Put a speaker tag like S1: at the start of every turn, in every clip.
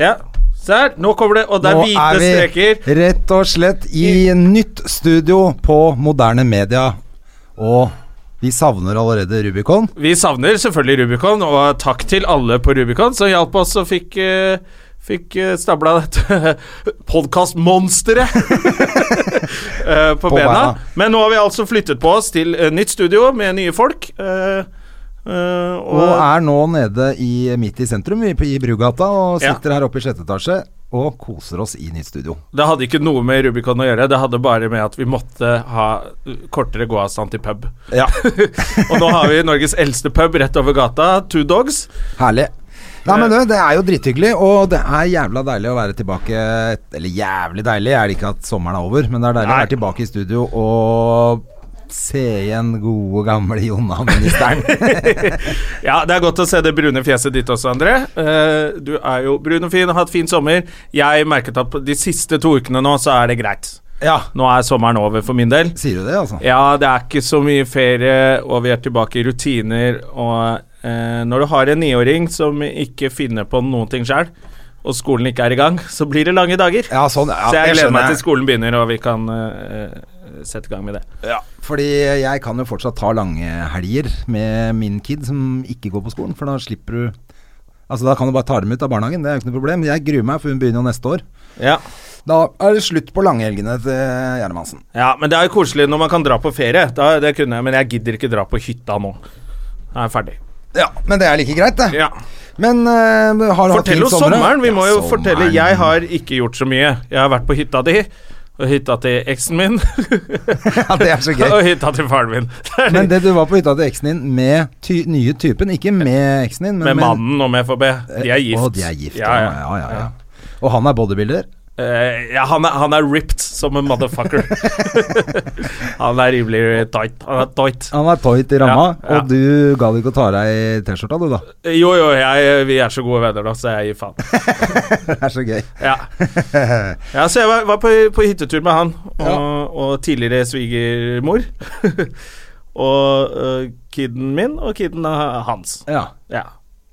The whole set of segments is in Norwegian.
S1: Ja, der. Nå kommer det, og det er hvite streker.
S2: rett og slett i nytt studio på Moderne Media. Og vi savner allerede Rubicon.
S1: Vi savner selvfølgelig Rubicon, og takk til alle på Rubicon som hjalp oss og fikk eh, Fikk eh, stabla dette podkastmonsteret eh, på,
S2: På
S1: bena.
S2: beina.
S1: Men nå har vi altså flyttet på oss til eh, nytt studio med nye folk. eh, eh,
S2: Og
S1: og
S2: er nå nede i, midt i sentrum, i, i Brugata, og
S1: Ja.
S2: sitter her oppe i sjette etasje og koser oss i nytt studio.
S1: det hadde ikke noe med Rubicon å gjøre, det hadde bare med at vi måtte ha eh, kortere gåavstand til pub.
S2: Ja.
S1: og nå har vi Norges eldste pub rett over gata, Two Dogs.
S2: Herlig. Nei, men du,
S1: Eh.
S2: Det er jo dritthyggelig, og det er jævla deilig å være tilbake Eller jævlig deilig er det ikke at sommeren er over, men det er deilig å
S1: Nei.
S2: være tilbake i studio og se igjen gode, gamle Jonna-ministeren.
S1: Ja, det er godt å se det brune fjeset ditt også, André. Eh, du er jo brun og fin og har hatt fin sommer. Jeg merket at på de siste to ukene nå, så er det greit.
S2: ja.
S1: Nå er sommeren over for min del.
S2: Sier du det, altså?
S1: Ja, det er ikke så mye ferie, og vi er tilbake i rutiner. Og eh, når du har en niåring som ikke finner på noen ting sjøl, og skolen ikke er i gang, så blir det lange dager.
S2: Ja, sånn. Ja,
S1: så jeg, gleder meg til
S2: skole.
S1: skolen begynner, og vi kan eh, eh, sette i gang med det.
S2: Fordi jeg kan jo fortsatt ta lange helger med min kid som ikke går på skolen, for da slipper du Altså, da kan du bare ta dem ut av barnehagen, det er jo ikke noe problem. Jeg gruer meg, for hun begynner jo neste år.
S1: Ja.
S2: Da er det slutt på langhelgene til Gjermansen.
S1: Ja, men det er jo koselig når man kan dra på ferie. Da, det kunne jeg, men jeg gidder ikke dra på hytta nå. Da er jeg ferdig.
S2: Ja, men det er like greit, det.
S1: Ja.
S2: Men eh, har du hatt
S1: Fortell
S2: fin
S1: oss
S2: sommer, da?
S1: sommeren. Vi må
S2: Ja,
S1: jo
S2: sommeren.
S1: fortelle. Jeg har ikke gjort så mye. Jeg har vært på hytta di, og hytta til eksen min,
S2: Ja, det er så
S1: og
S2: gøy.
S1: hytta til faren min. Det er
S2: Men
S1: det,
S2: det du var på hytta til eksen din med ty nye typen, ikke med eksen din, men Eh,
S1: med mannen om FHB. De er gift.
S2: Å, de er gift.
S1: Ja, ja.
S2: ja, ja, ja. Og han er bodybuilder?
S1: Eh, ja, han, er, han er ripped som en motherfucker. han er rimelig tight. Han er tight.
S2: Han er tight i ramma,
S1: Ja, ja.
S2: og du gadd ikke å ta av deg T-skjorta, du, da.
S1: Jo, jo, jeg, vi er så gode venner nå, så jeg gir faen.
S2: Det er så gøy.
S1: Ja. ja, så jeg var, var på, på hyttetur med han og,
S2: Ja.
S1: og tidligere svigermor. og uh, kiden min og kiden uh, hans.
S2: Ja,
S1: Ja.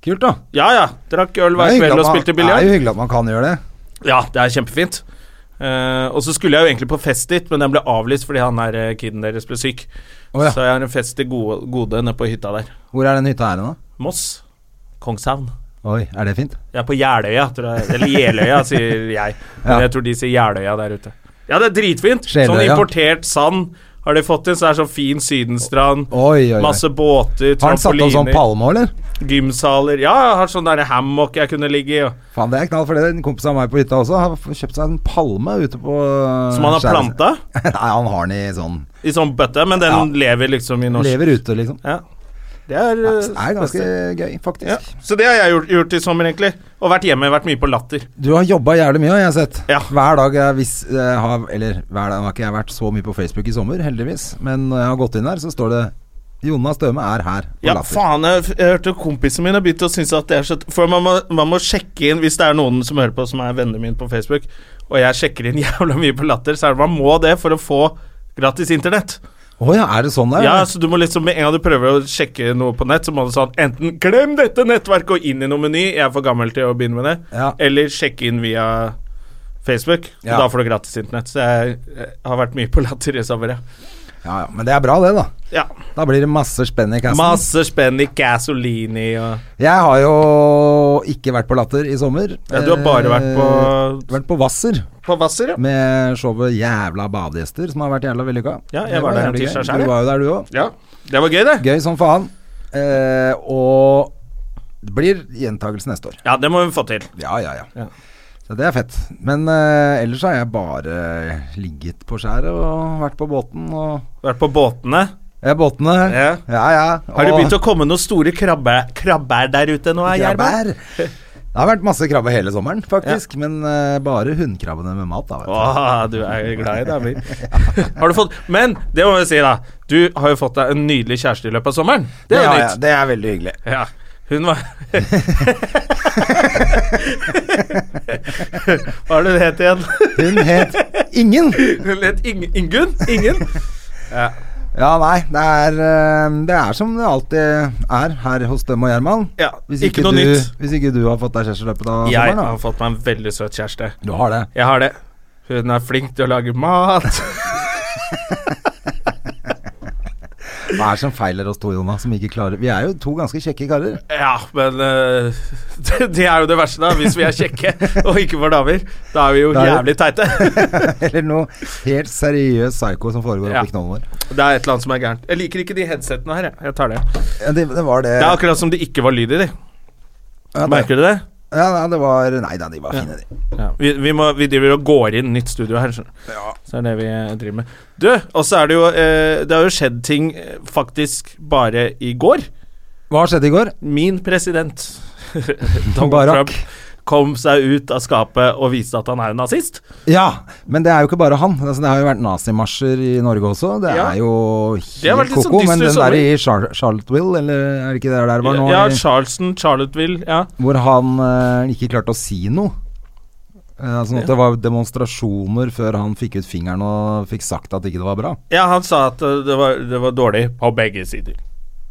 S2: Kult, da.
S1: ja ja, drakk øl
S2: Det
S1: hver
S2: er hyggelig
S1: kveld
S2: at
S1: og
S2: man-
S1: spilte
S2: Det er
S1: biljard.
S2: jo hyggelig at man kan gjøre det.
S1: Ja, det er kjempefint. Eh, og så skulle jeg jo egentlig på fest dit, men den ble avlyst fordi han her, eh, kiden deres ble syk.
S2: Å, ja.
S1: Så jeg har en fest til gode, gode nede på hytta der.
S2: Hvor er den hytta her, da?
S1: Moss. Kongshavn.
S2: Oi, er det fint?
S1: Jeg er på Jeløya, tror jeg. Eller Jeløya, sier jeg. Men
S2: Ja.
S1: jeg tror de sier Jeløya der ute. Ja, det er dritfint. Sånn
S2: Sjeløya.
S1: importert sand har de fått inn, så det er sånn fin sydenstrand.
S2: Oi, oi, oi.
S1: Masse båter,
S2: Har han satt opp sånn
S1: trampoliner,
S2: palme òg, eller?
S1: gymsaler Ja, jeg har sånn der hammock jeg kunne ligge i. og-
S2: Faen, det er knall, for det en kompis av meg på hytta også har f- kjøpt seg en palme ute på
S1: Som han har
S2: skjæret.
S1: planta
S2: Nei, han har den i sånn
S1: i sånn bøtte, men den
S2: Ja.
S1: lever liksom i norsk
S2: Lever ute, liksom.
S1: Ja. Det er,
S2: Det
S1: eh,
S2: er ganske gøy, faktisk.
S1: ja. Så det har jeg gjort, gjort i sommer, egentlig. Og vært hjemme, vært mye på latter.
S2: Du har jobba jævlig mye, har jeg sett.
S1: Ja.
S2: Hver dag jeg hvis, eh, har Eller hver dag har ikke jeg vært så mye på Facebook i sommer, heldigvis. Men når jeg har gått inn der, så står det Jonna Støme er her. på
S1: Ja,
S2: Latter».
S1: faen, jeg, f- jeg hørte kompisene mine begynte å synes at det er så For man må, man må sjekke inn hvis det er noen som hører på som er vennene mine på Facebook, og jeg sjekker inn jævla mye på Latter, så er det man må det for å få gratis internett.
S2: Å ja, er det sånn det er?
S1: Ja, så du må liksom Med en gang du prøver å sjekke noe på nett, så må du sånn enten Glem dette nettverket og inn i noe meny, jeg er for gammel til å begynne med det,
S2: Ja.
S1: eller sjekke inn via Facebook. og
S2: Ja.
S1: Da får du gratis internett. Så jeg, jeg har vært mye på Latter i sommer, ja.
S2: Ja, ja, Men det er bra, det, da.
S1: ja.
S2: Da blir det masse spenn i kassen.
S1: Masse spenn i Gasolini og
S2: Jeg har jo ikke vært på Latter i sommer.
S1: Ja, du har bare vært på-
S2: Eh, Vært på Hvasser
S1: På Hvasser, ja.
S2: med showet Jævla badegjester, som har vært jævla vellykka.
S1: Ja, jeg
S2: Det
S1: var der en
S2: jævlig gøy.
S1: tirsdag selv,
S2: Du
S1: jeg.
S2: var jo der, du òg.
S1: Ja, det var gøy, det.
S2: Gøy som faen. Eh, og det blir gjentakelse neste år.
S1: Ja, det må vi få til.
S2: Ja, ja, ja.
S1: Ja.
S2: Så det er fett. Men eh, ellers har jeg bare ligget på skjæret og vært på båten og
S1: Vært på båtene.
S2: Ja, båtene.
S1: Ja.
S2: ja. ja.
S1: Har det begynt å komme noen store krabbe, krabber der ute nå, eh, Gjerman?
S2: Grabber. Det har vært masse krabbe hele sommeren, faktisk. Men eh, bare hunnkrabbene med mat, da. Vet du.
S1: Åh, du er glad i damer. Har du fått Men det må vi si, da. Du har jo fått deg en nydelig kjæreste i løpet av sommeren. Det er jo
S2: har jeg.
S1: nytt.
S2: det er veldig hyggelig.
S1: Ja. Hun var Hva er det hun het igjen?
S2: Hun het Ingen.
S1: Hun het Ing Ingunn? Ingen?
S2: Ja, nei. Det er, eh, det er som det alltid er her hos dem og Gjerman.
S1: Ja,
S2: Hvis
S1: ikke noe
S2: du,
S1: nytt.
S2: Hvis ikke du har fått deg kjæreste i løpet av
S1: Jeg
S2: sommeren,
S1: har fått meg en veldig søt kjæreste.
S2: da. Du har det.
S1: Jeg har det. Hun er flink til å lage mat.
S2: Hva er det som feiler oss to, Jonas, som ikke klarer Vi er jo to ganske kjekke karer.
S1: Ja, men eh, det, det er jo det verste, da. Hvis vi er kjekke og ikke får damer, da er vi jo
S2: Da er det-
S1: jævlig teite.
S2: Eller noe helt seriøs psycho som foregår
S1: Ja.
S2: oppi knollen vår.
S1: Det er et eller annet som er gærent. Jeg liker ikke de headsetene her, jeg. Jeg tar det.
S2: Ja, det, det var det.
S1: Det er akkurat som det ikke var lyd i de.
S2: Ja, det,
S1: Merker du det?
S2: ja, nei, det var Nei da, de var fine, de.
S1: Ja. Vi, vi, må, vi driver og går inn nytt studio her, skjønner du. Så er det vi eh, driver med. Du, og så er det jo eh, Det har jo skjedd ting eh, faktisk bare i går.
S2: Hva skjedde i går?
S1: Min president, Donald
S2: Barack.
S1: Trump, kom seg ut av skapet og viste at han er en nazist.
S2: Ja, men det er jo ikke bare han. Altså, det har jo vært nazimarsjer i Norge også. Det
S1: Ja.
S2: er jo
S1: har vært
S2: helt
S1: litt sånn
S2: koko. Men den
S1: dyster
S2: der
S1: sommer.
S2: i Char Charlotteville, eller er det ikke det der det var nå?
S1: Ja,
S2: i-
S1: Charleston, Charlotteville, ja.
S2: hvor han eh, ikke klarte å si noe. Eh, altså, sånn at Det var demonstrasjoner før han fikk ut fingeren og fikk sagt at ikke det var bra.
S1: Ja, han sa at eh, det var, det var dårlig på begge sider.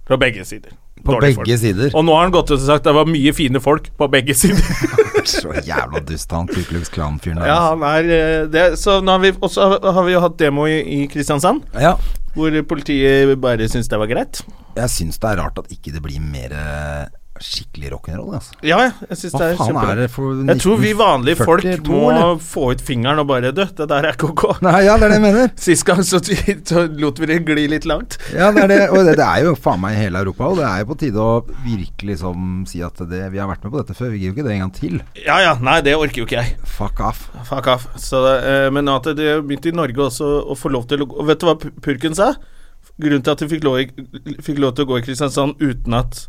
S1: På begge sider.
S2: På
S1: Dårlige
S2: begge sider.
S1: Og nå har han gått ut og sagt det var mye fine folk på begge sider.
S2: Så jævla dust, han Ku Klux Klan-fyren der.
S1: ja,
S2: altså.
S1: han er eh, det. Så nå har vi også har vi jo hatt demo i, i Kristiansand,
S2: Ja.
S1: hvor politiet bare syntes det var greit.
S2: Jeg syns det er rart at ikke det blir mer eh, skikkelig rock'n'roll, altså.
S1: Ja, ja, jeg syns det
S2: Hva
S1: er
S2: faen er det for
S1: Jeg tror vi vanlige folk
S2: 1942,
S1: må
S2: eller?
S1: få ut fingeren og bare dø. Det der er KK.
S2: Nei, ja, det er det jeg mener.
S1: Sist gang så, så lot vi det gli litt langt.
S2: Ja, det er det. Og det, det er jo faen meg i hele Europa, og det er jo på tide å virkelig liksom si at det, vi har vært med på dette før, vi gir jo ikke det en gang til.
S1: Ja ja, nei, det orker jo ikke jeg.
S2: Fuck off.
S1: Fuck off. Så, eh, men at det har begynt i Norge også å få lov til å gå og Vet du hva Pu- Purken sa? Grunnen til at de fikk lov, i- fikk lov til å gå i Kristiansand uten at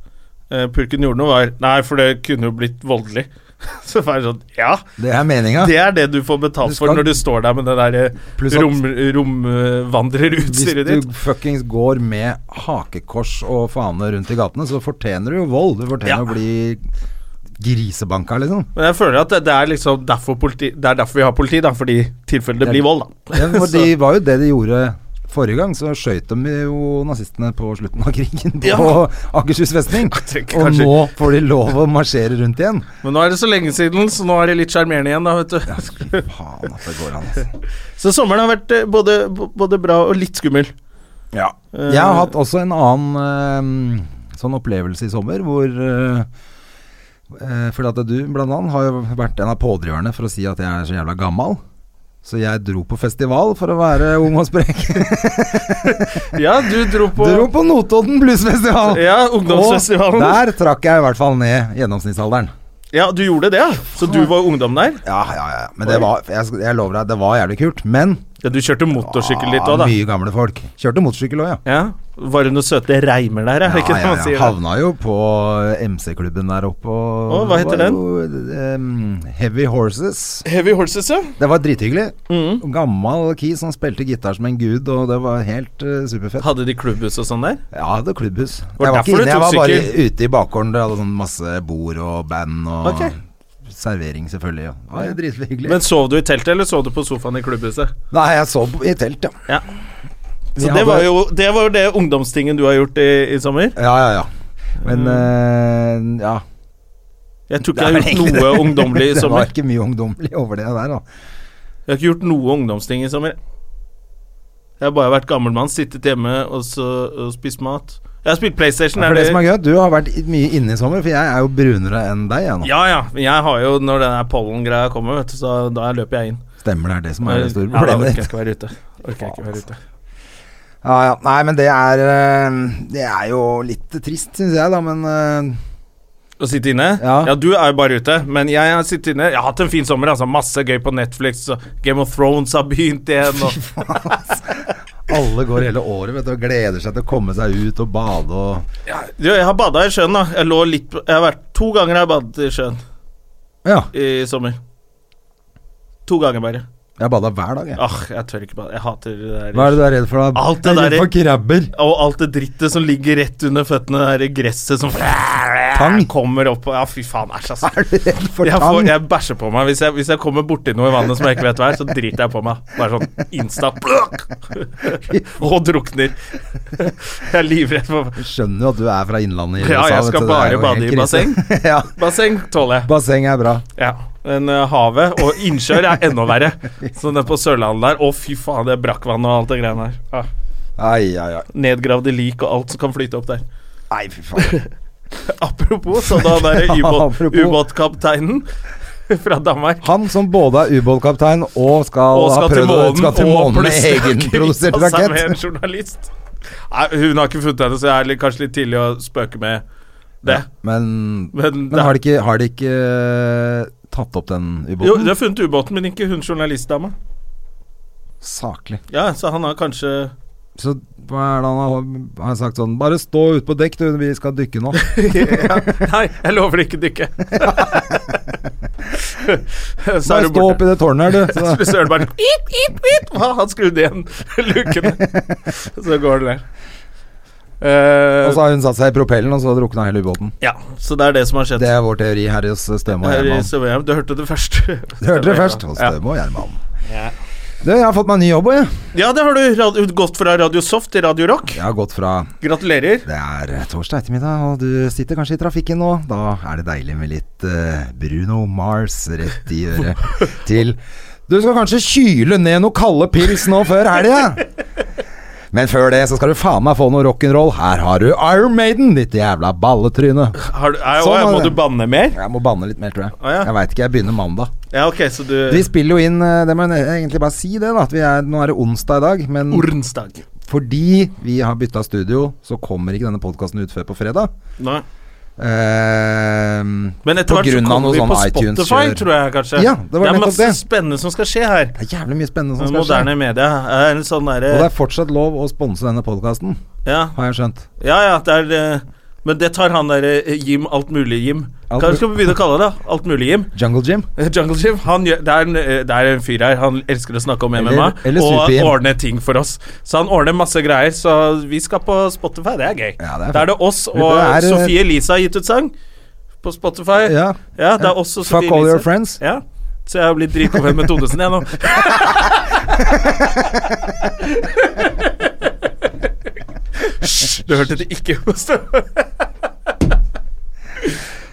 S1: eh, Purken gjorde noe, var Nei, for det kunne jo blitt voldelig. Så var det sånn Ja,
S2: Det er meninga.
S1: det er det du får betalt
S2: Du skal-
S1: for når du står der med det der eh,
S2: Pluss at- Hvis
S1: romvandrerutstyret
S2: du
S1: ditt.
S2: fuckings går med hakekors og faner rundt i gatene, så fortjener du jo vold. Du fortjener
S1: Ja.
S2: å bli grisebanka, liksom.
S1: Men jeg føler at det, det er liksom derfor politi Det er derfor vi har politi, da. Fordi tilfellet det
S2: er-
S1: blir vold, da.
S2: Ja, for
S1: Så-
S2: de var jo det de gjorde forrige gang, så skøyt de jo nazistene på slutten av krigen på
S1: Ja.
S2: Akershus festning.
S1: Jeg tenker
S2: Og
S1: kanskje-
S2: nå får de lov å marsjere rundt igjen.
S1: Men nå er det så lenge siden, så nå er det litt sjarmerende igjen, da, vet du.
S2: Faen at det går an, altså.
S1: Så sommeren har vært eh, både, b- både bra og litt skummel.
S2: Ja. Jeg har hatt også en annen eh, sånn opplevelse i sommer hvor uh, Fordi at du, blant annet, har jo vært en av pådriverne for å si at jeg er så jævla gammal. Så jeg dro på festival for å være ung og sprek.
S1: Ja, du dro på
S2: Dro på Notodden bluesfestival!
S1: Ja,
S2: Og
S1: ungdomsfestivalen.
S2: der trakk jeg i hvert fall ned gjennomsnittsalderen.
S1: Ja, du gjorde det, ja. Så du var ungdom der?
S2: Ja, ja, ja. Men det var Jeg, skal- jeg lover deg, det var jævlig kult. Men Ah,
S1: Ja, du kjørte motorsykkel litt òg, da.
S2: mye gamle folk. Kjørte motorsykkel òg, ja.
S1: Ja. Var det noen søte reimer der, er det ikke det man sier?
S2: Havna jo på MC-klubben der oppe. Og
S1: Å, hva heter
S2: var jo, em, Heavy Horses.
S1: Heavy Horses, ja.
S2: Det var drithyggelig.
S1: Mm.
S2: Gammal Key som spilte gitar som en gud, og det var helt eh, superfett.
S1: Hadde de klubbhus og sånn der?
S2: Ja, det var klubbhus.
S1: Var
S2: Jeg var
S1: derfor
S2: ikke
S1: du
S2: inne, jeg
S1: tok
S2: var bare
S1: sykkel?
S2: ute i bakgården. Det hadde sånn masse bord og band og
S1: Ok.
S2: servering, selvfølgelig. Ja. Det var drithyggelig.
S1: Men sov du i teltet, eller sov du på sofaen i klubbhuset?
S2: Nei, jeg sov i telt, ja.
S1: Ja.
S2: Vi
S1: Så det
S2: hadde-
S1: var, jo, det var jo det ungdomstingen du har gjort i, i sommer.
S2: Ja, ja, ja. Men
S1: Mm.
S2: eh, ja.
S1: Jeg tror
S2: Det
S1: ikke
S2: er
S1: jeg har
S2: vel
S1: gjort
S2: egentlig
S1: noe ungdommelig i
S2: Det var
S1: sommer.
S2: ikke mye ungdommelig over det der, da.
S1: Jeg har ikke gjort noe ungdomsting i sommer. Jeg har bare vært gammel mann, sittet hjemme og, så, og spist mat. Jeg har spilt PlayStation.
S2: Ja, for
S1: er
S2: det
S1: det-
S2: som er gøy, du har vært i- mye inne i sommer, for jeg er jo brunere enn deg. Jeg, nå.
S1: ja, ja. Men jeg har jo, når den der pollengreia kommer, vet du, så da løper jeg inn.
S2: Stemmer, det er det som er det store
S1: ja, da orker
S2: problemet
S1: jeg
S2: ditt.
S1: ikke være ute. Orker jeg ikke være ute.
S2: Ja, ja. Nei, men det er eh, Det er jo litt trist, syns jeg, da, men eh,
S1: Å sitte inne?
S2: Ja.
S1: du er jo bare ute. Men jeg har sittet inne. Jeg har hatt en fin sommer, altså. Masse gøy på Netflix. Og Game of Thrones har begynt igjen. Og
S2: alle går hele året vet du, og gleder seg til å komme seg ut og bade og
S1: Du, jeg har bada i sjøen, da. Jeg lå litt på- Jeg har vært to ganger jeg har badet i sjøen.
S2: Ja.
S1: i sommer. To ganger bare.
S2: Jeg bada hver dag, jeg.
S1: Åh, jeg tør ikke bade. Jeg hater det der.
S2: Hva er det du er redd for da?
S1: Alt det
S2: Jeg er
S1: der-
S2: redd for krabber.
S1: Og alt det drittet som ligger rett under føttene, det der gresset som
S2: Tang.
S1: kommer opp og Ja, fy faen, æsj, altså.
S2: Er du redd for
S1: Jeg, får,
S2: tang?
S1: jeg bæsjer på meg. Hvis jeg, hvis jeg kommer borti noe i vannet som jeg ikke vet hva er, så driter jeg på meg. Bare sånn insta pløk! Og drukner. Jeg er livredd for
S2: Skjønner jo at du er fra innlandet i
S1: Ja,
S2: USA,
S1: jeg
S2: vet
S1: skal
S2: du, det er
S1: bare
S2: jo helt
S1: bade i
S2: krise.
S1: basseng.
S2: ja,
S1: Basseng tåler jeg.
S2: basseng er bra.
S1: Ja. Men eh, havet og innsjøer er enda verre. Så den på Sørlandet der Å, fy faen, det er brakkvann og alt det greiene der. Ja.
S2: Ai, ai, ai.
S1: Nedgravde lik og alt som kan flyte opp der.
S2: Nei, fy faen.
S1: Apropos, så da der
S2: Apropos.
S1: ubåt- ubåtkapteinen fra Danmark
S2: Han som både er ubåtkaptein og skal,
S1: og skal
S2: ha
S1: til
S2: prøvd å-
S1: månen,
S2: skal til
S1: og
S2: månen med
S1: plutselig har
S2: egenprodusert
S1: kvittet seg med en
S2: rakett.
S1: journalist. Nei, hun har ikke funnet henne, så jeg er litt, kanskje litt tidlig å spøke med det.
S2: Men,
S1: Men,
S2: men har de ikke, har de ikke eh, tatt opp den
S1: jo,
S2: ubåten?
S1: de har funnet ubåten, men ikke hun journalistdama.
S2: Saklig.
S1: Ja, så han har kanskje
S2: Så hva er det han har, har han sagt sånn Bare stå ute på dekk, du, vi skal dykke nå.
S1: ja, Nei, jeg lover ikke dykke. så
S2: Bare
S1: er hun
S2: stå oppi
S1: borte.
S2: det tårnet her, du. Så,
S1: Så hører du bare pip, pip, pip. Hva? Han skrudde igjen lukene. Så går den der. Eh,
S2: og så har hun satt seg i propellen, og så drukna hele ubåten.
S1: ja, så det er det som har skjedd.
S2: Det er vår teori eh, her hos Støme og
S1: Her i
S2: Gjerman.
S1: Sør-VM. Du hørte det først.
S2: Du hørte det først hos
S1: Ja.
S2: Støme og Gjerman.
S1: Ja.
S2: Du, jeg har fått meg ny jobb òg, jeg.
S1: ja, det har du. Radio, gått fra Radio Soft til Radio Rock.
S2: Jeg har gått fra
S1: Gratulerer.
S2: Det er torsdag ettermiddag, og du sitter kanskje i trafikken nå. Da er det deilig med litt eh, Bruno Mars rett i øret til Du skal kanskje kyle ned noe kalde pils nå før helga. Men før det så skal du faen meg få noe rock'n'roll. Her har du Iron Maiden, ditt jævla balletryne.
S1: Har du, nei,
S2: Sånn
S1: å, ja,
S2: var
S1: må
S2: det.
S1: du banne mer?
S2: Jeg må banne litt mer, tror jeg.
S1: Å, ja.
S2: Jeg veit ikke, jeg begynner mandag.
S1: Ja, ok, så du
S2: Vi spiller jo inn eh, Det må jeg egentlig bare si, det. da at vi er, Nå er det onsdag i dag, men
S1: Ornsdag.
S2: fordi vi har bytta studio, så kommer ikke denne podkasten ut før på fredag.
S1: Nei.
S2: Ehm,
S1: Men etter
S2: På
S1: hvert så
S2: grunn av
S1: kommer vi
S2: noe
S1: på
S2: sånn
S1: Spotify,
S2: iTunes-kjør.
S1: tror jeg kanskje.
S2: Ja, det var
S1: er
S2: nettopp
S1: masse
S2: det.
S1: spennende som skal skje her.
S2: det er jævlig mye spennende som skal skje.
S1: Moderne media. Er en sånn
S2: Og det
S1: derre
S2: er fortsatt lov å sponse denne podkasten,
S1: ja,
S2: har jeg skjønt.
S1: ja, ja, det er eh, Men det tar han derre eh, Jim Altmulig-Jim.
S2: Alt
S1: Hva
S2: mul-
S1: skal vi begynne å kalle det? da? Altmulig-Jim?
S2: Jungle Gym.
S1: Eh, Jungle Jim, han gjør, det, er en, eh, det er en fyr her. Han elsker å snakke om MMA
S2: Eller- eller
S1: og
S2: Super-Jim.
S1: ordne ting for oss. Så han ordner masse greier. Så vi skal på Spotify. Det er gøy.
S2: Ja, det er
S1: da er det oss og
S2: Det er, eh,
S1: Sofie Elise har gitt ut sang på Spotify.
S2: Ja.
S1: Ja, det er også
S2: Fuck
S1: Sophie
S2: all
S1: Elise.
S2: your friends.
S1: Ja. Så jeg har blitt dritgod venn med Todesen, jeg nå. Hysj, du hørte det ikke hos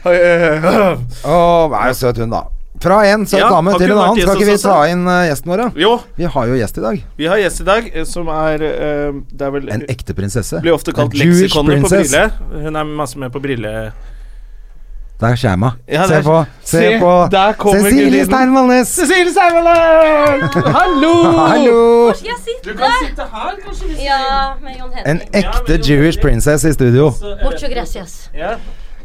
S1: eh,
S2: Å, vær jo søt hun, da. Fra en søt
S1: Ja,
S2: dame
S1: har
S2: til
S1: ikke
S2: en
S1: vært
S2: annen. Skal
S1: gjest
S2: ikke vi
S1: hos oss,
S2: ta
S1: da?
S2: inn eh, gjesten vår, da?
S1: Jo,
S2: Vi har jo gjest i dag.
S1: vi har gjest i dag, eh, som er eh, Det er vel
S2: En ekte prinsesse.
S1: Blir ofte kalt
S2: En Jewish
S1: leksikonet på
S2: princess.
S1: Brille. Hun er masse med på Brille.
S2: Der kommer hun.
S1: Ja,
S2: se
S1: der-
S2: på, se
S1: se,
S2: på
S1: der kommer
S2: Cecilie
S1: gudinnen.
S2: Steinmann Næss.
S1: Cecilie Seimerland! Hallo!
S2: Hallo!
S3: Jeg sitter
S1: kan sitte her, kanskje. hvis-
S3: Ja, med Jon
S2: En
S3: Henrik.
S2: ekte Jewish princess i studio.
S3: Mucho gracias.
S1: Ja.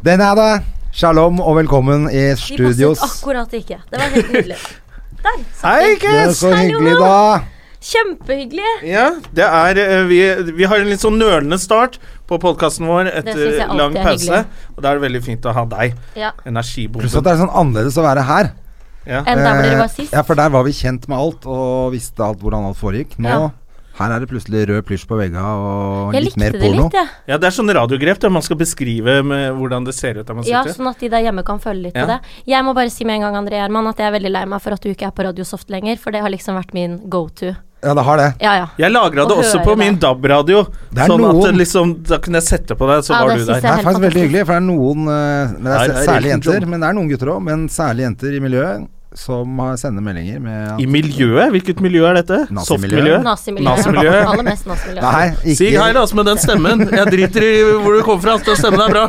S2: Den er det. Shalom og velkommen i
S3: De passet
S2: studios.
S3: akkurat ikke. Det var helt nydelig. Der satt
S1: Hei,
S3: de.
S2: Det er
S1: Kes!
S2: så hyggelig, da.
S3: Kjempehyggelig.
S1: Ja, det er eh, vi, vi har en litt sånn nølende start på podkasten vår
S3: synes
S1: etter
S3: jeg alltid
S1: lang
S3: er
S1: pause.
S3: hyggelig.
S1: Og da er det veldig fint å ha deg.
S3: Ja.
S2: Pluss at
S1: Energibomben.
S2: det er sånn annerledes å være her.
S1: Ja.
S3: Enn der hvor dere var
S2: Eh,
S3: sist.
S2: Ja, for der var vi kjent med alt og visste alt hvordan alt foregikk. Nå
S3: Ja.
S2: her er det plutselig rød plysj på veggene og
S3: Jeg
S2: litt
S3: likte
S2: mer
S3: det
S2: porno.
S3: litt, jeg.
S1: ja, det er sånn radiogrep der man skal beskrive med hvordan det ser ut der man
S3: Ja,
S1: sitter.
S3: sånn at de der hjemme kan følge litt
S1: Ja.
S3: på det. Jeg må bare si med en gang, André Gjerman, at jeg er veldig lei meg for at du ikke er på Radio Soft lenger, for det har liksom vært min go to.
S2: Ja, det har det.
S3: Ja, ja.
S1: Jeg lagra det
S3: Å
S1: også
S3: høre
S1: på
S3: det.
S1: min DAB-radio.
S2: Det er
S1: Sånn at
S2: noen-
S1: det liksom, da kunne jeg sette på deg, så
S3: Ja,
S1: var
S3: det
S1: du
S3: synes
S1: der.
S3: helt
S2: Det er faktisk veldig
S3: fantastisk.
S2: hyggelig, for det er noen eh, men det
S1: Nei,
S2: er,
S1: det er
S2: s- Særlig
S1: Elton John.
S2: jenter, men det er noen gutter òg. Men særlig jenter i miljøet som har- sender meldinger med at
S1: I miljøet? Hvilket miljø er dette?
S2: Nazimiljø.
S1: Softmiljø?
S3: Nazimiljøet.
S1: Nazimiljø.
S3: Aller mest nazimiljø.
S2: Nei,
S1: Si hei,
S2: ikke
S1: da, altså, med den stemmen. Jeg driter i hvor du kommer fra, den stemmen er bra.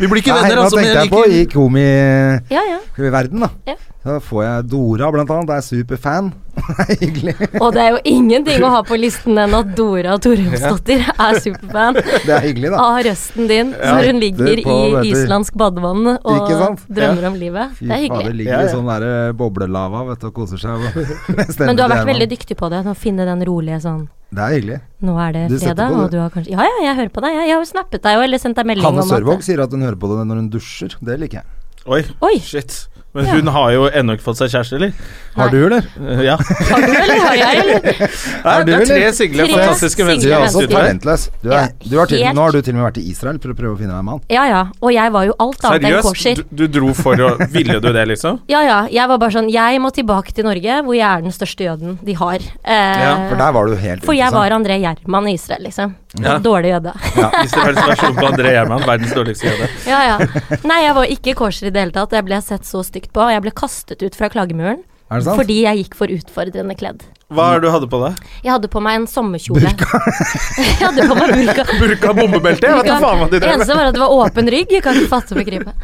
S1: Vi blir ikke
S2: Nei,
S1: venner,
S2: nå
S1: altså, men
S2: tenkte
S1: jeg
S2: jeg på i
S1: liker
S2: komiverden,
S3: Ja, ja.
S2: da.
S3: Ja.
S2: Da får jeg Dora, blant annet. Er superfan. hyggelig.
S3: Og det er jo ingenting å ha på listen enn at Dora Torjumsdottir er superfan.
S2: Det er hyggelig, da.
S3: av røsten din når hun ligger
S2: det på, vet
S3: i
S2: du.
S3: islandsk badevann og
S2: Ikke sant?
S3: drømmer om livet. Det er
S2: fader,
S3: hyggelig.
S2: ligger
S1: Ja,
S2: i
S1: ja.
S2: sånn der boblelava vet du, og koser seg.
S3: Men du har vært veldig dyktig på det, å finne den rolige sånn
S2: Det er hyggelig.
S3: Nå er det
S2: Du setter
S3: fredag,
S2: på det.
S3: og du har kanskje Ja ja, jeg hører på deg. Jeg, jeg har jo snappet deg, og eller sendt deg melding
S2: Hanne
S3: om
S2: Sørvåg
S3: at
S2: sier at hun hører på det når hun dusjer. Det liker jeg.
S1: Oi,
S3: Oi.
S1: shit. Men hun har jo ennå ikke fått seg kjæreste, eller?
S2: Har du, eller?
S1: Eh, ja.
S3: Har du, eller har jeg? Eller?
S1: Nei, det
S2: du,
S1: er tre
S2: eller?
S1: single,
S3: Tre
S1: fantastiske
S3: single
S2: Du er
S1: mennesker i
S3: mennesker.
S2: også
S1: studio her.
S2: talentløs. Du er,
S3: Ja,
S2: du har til,
S3: helt.
S2: nå har du til og med vært i Israel for å prøve å finne deg en mann.
S3: Ja ja, og jeg var jo alt annet enn kosher.
S1: Seriøst? Du, du dro for å Ville du det, liksom?
S3: Ja ja, jeg var bare sånn Jeg må tilbake til Norge, hvor jeg er den største jøden de har. Eh,
S1: Ja,
S2: For der var du helt
S3: for jeg
S2: interessant.
S3: var André Gjerman i Israel, liksom.
S1: Ja.
S3: Dårlig jøde.
S1: Hvis det var en versjon på André Gjerman, verdens dårligste jøde.
S3: ja, ja. Nei, jeg var ikke kosher i det hele tatt. Jeg ble sett så stygt på. og Jeg ble kastet ut fra klagemuren
S2: Er det sant?
S3: fordi jeg gikk for utfordrende kledd.
S1: Hva er det du hadde på deg?
S3: Jeg hadde på meg en sommerkjole. jeg hadde på meg burka.
S1: Burka og bombebelte? Jeg vet da faen hva de
S3: Det
S1: drev med.
S3: eneste var at det var åpen rygg. Jeg kan ikke fatte og begripe.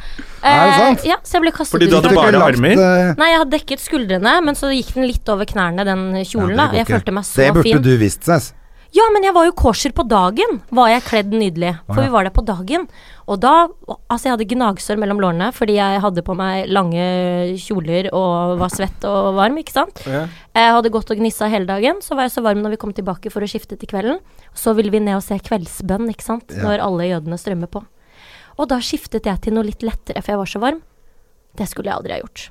S2: Er det sant?
S3: Eh, ja, så jeg ble kastet
S1: Fordi du
S3: ut.
S1: hadde
S3: fra-
S1: bare
S2: Ikke lagt,
S1: armer?
S2: eh,
S3: Nei, jeg hadde dekket skuldrene, men så gikk den litt over knærne, den
S2: ja,
S3: kjolen.
S2: det
S3: da.
S2: går
S3: Jeg
S2: ikke.
S3: følte meg så
S2: Det burde
S3: fin.
S2: du visst, Sess.
S3: Ja, men jeg var jo kosher på dagen, var jeg kledd nydelig. For
S2: ja.
S3: vi var der på dagen. Og da Altså, jeg hadde gnagsår mellom lårene fordi jeg hadde på meg lange kjoler og var svett og varm, ikke sant.
S1: Ja.
S3: Jeg hadde gått og gnissa hele dagen, så var jeg så varm når vi kom tilbake for å skifte til kvelden. Så ville vi ned og se kveldsbønn, ikke sant. Når alle jødene strømmer på. Og da skiftet jeg til noe litt lettere, for jeg var så varm. Det skulle jeg aldri ha gjort.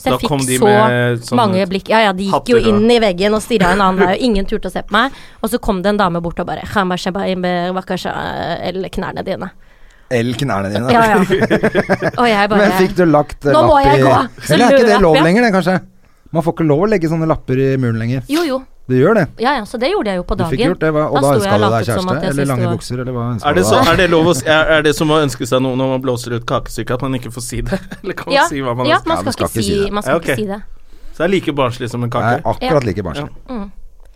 S3: Så
S1: Da
S3: jeg
S1: kom
S3: fikk
S1: de
S3: så
S1: med sånne
S3: mange blikk. Ja ja, de gikk
S1: hatter
S3: jo
S1: og-
S3: inn i veggen og stirra en annen vei, og ingen turte å se på meg. Og så kom det en dame bort og bare «Khama shaba imbe wakasha, Eller knærne dine.
S2: Eller knærne dine.
S3: Ja ja. Og jeg bare
S2: Men fikk du lagt eh,
S3: Nå må
S2: lapp i
S3: jeg gå. Så
S2: Eller er ikke det
S3: løp
S2: lov
S3: jeg.
S2: lenger, det, kanskje? Man får ikke lov å legge sånne lapper i muren lenger.
S3: Jo jo.
S2: Du gjør det.
S3: Ja ja, så det gjorde jeg jo på
S2: Du
S3: dagen.
S2: fikk gjort det, hva, og da
S3: sto jeg
S2: ønska du
S3: latet
S2: deg
S3: som at jeg
S2: kjæreste? Eller
S3: syntes det
S2: lange
S3: var-
S2: bukser? Eller hva ønska du
S1: Er det, så,
S2: deg?
S1: er, det lov å, si- er er det som å ønske seg noe når man blåser ut kakestykket, at man ikke får si det? Eller kan man
S3: Ja,
S1: si hva man
S3: ja,
S1: ønsker?
S3: man
S2: Ja, du
S3: skal, ikke si, det. Man skal
S1: Ja, ok.
S3: ikke si det.
S1: Så det er like barnslig som en
S2: Det er
S1: kake.
S2: akkurat like barnslig.
S3: Mm.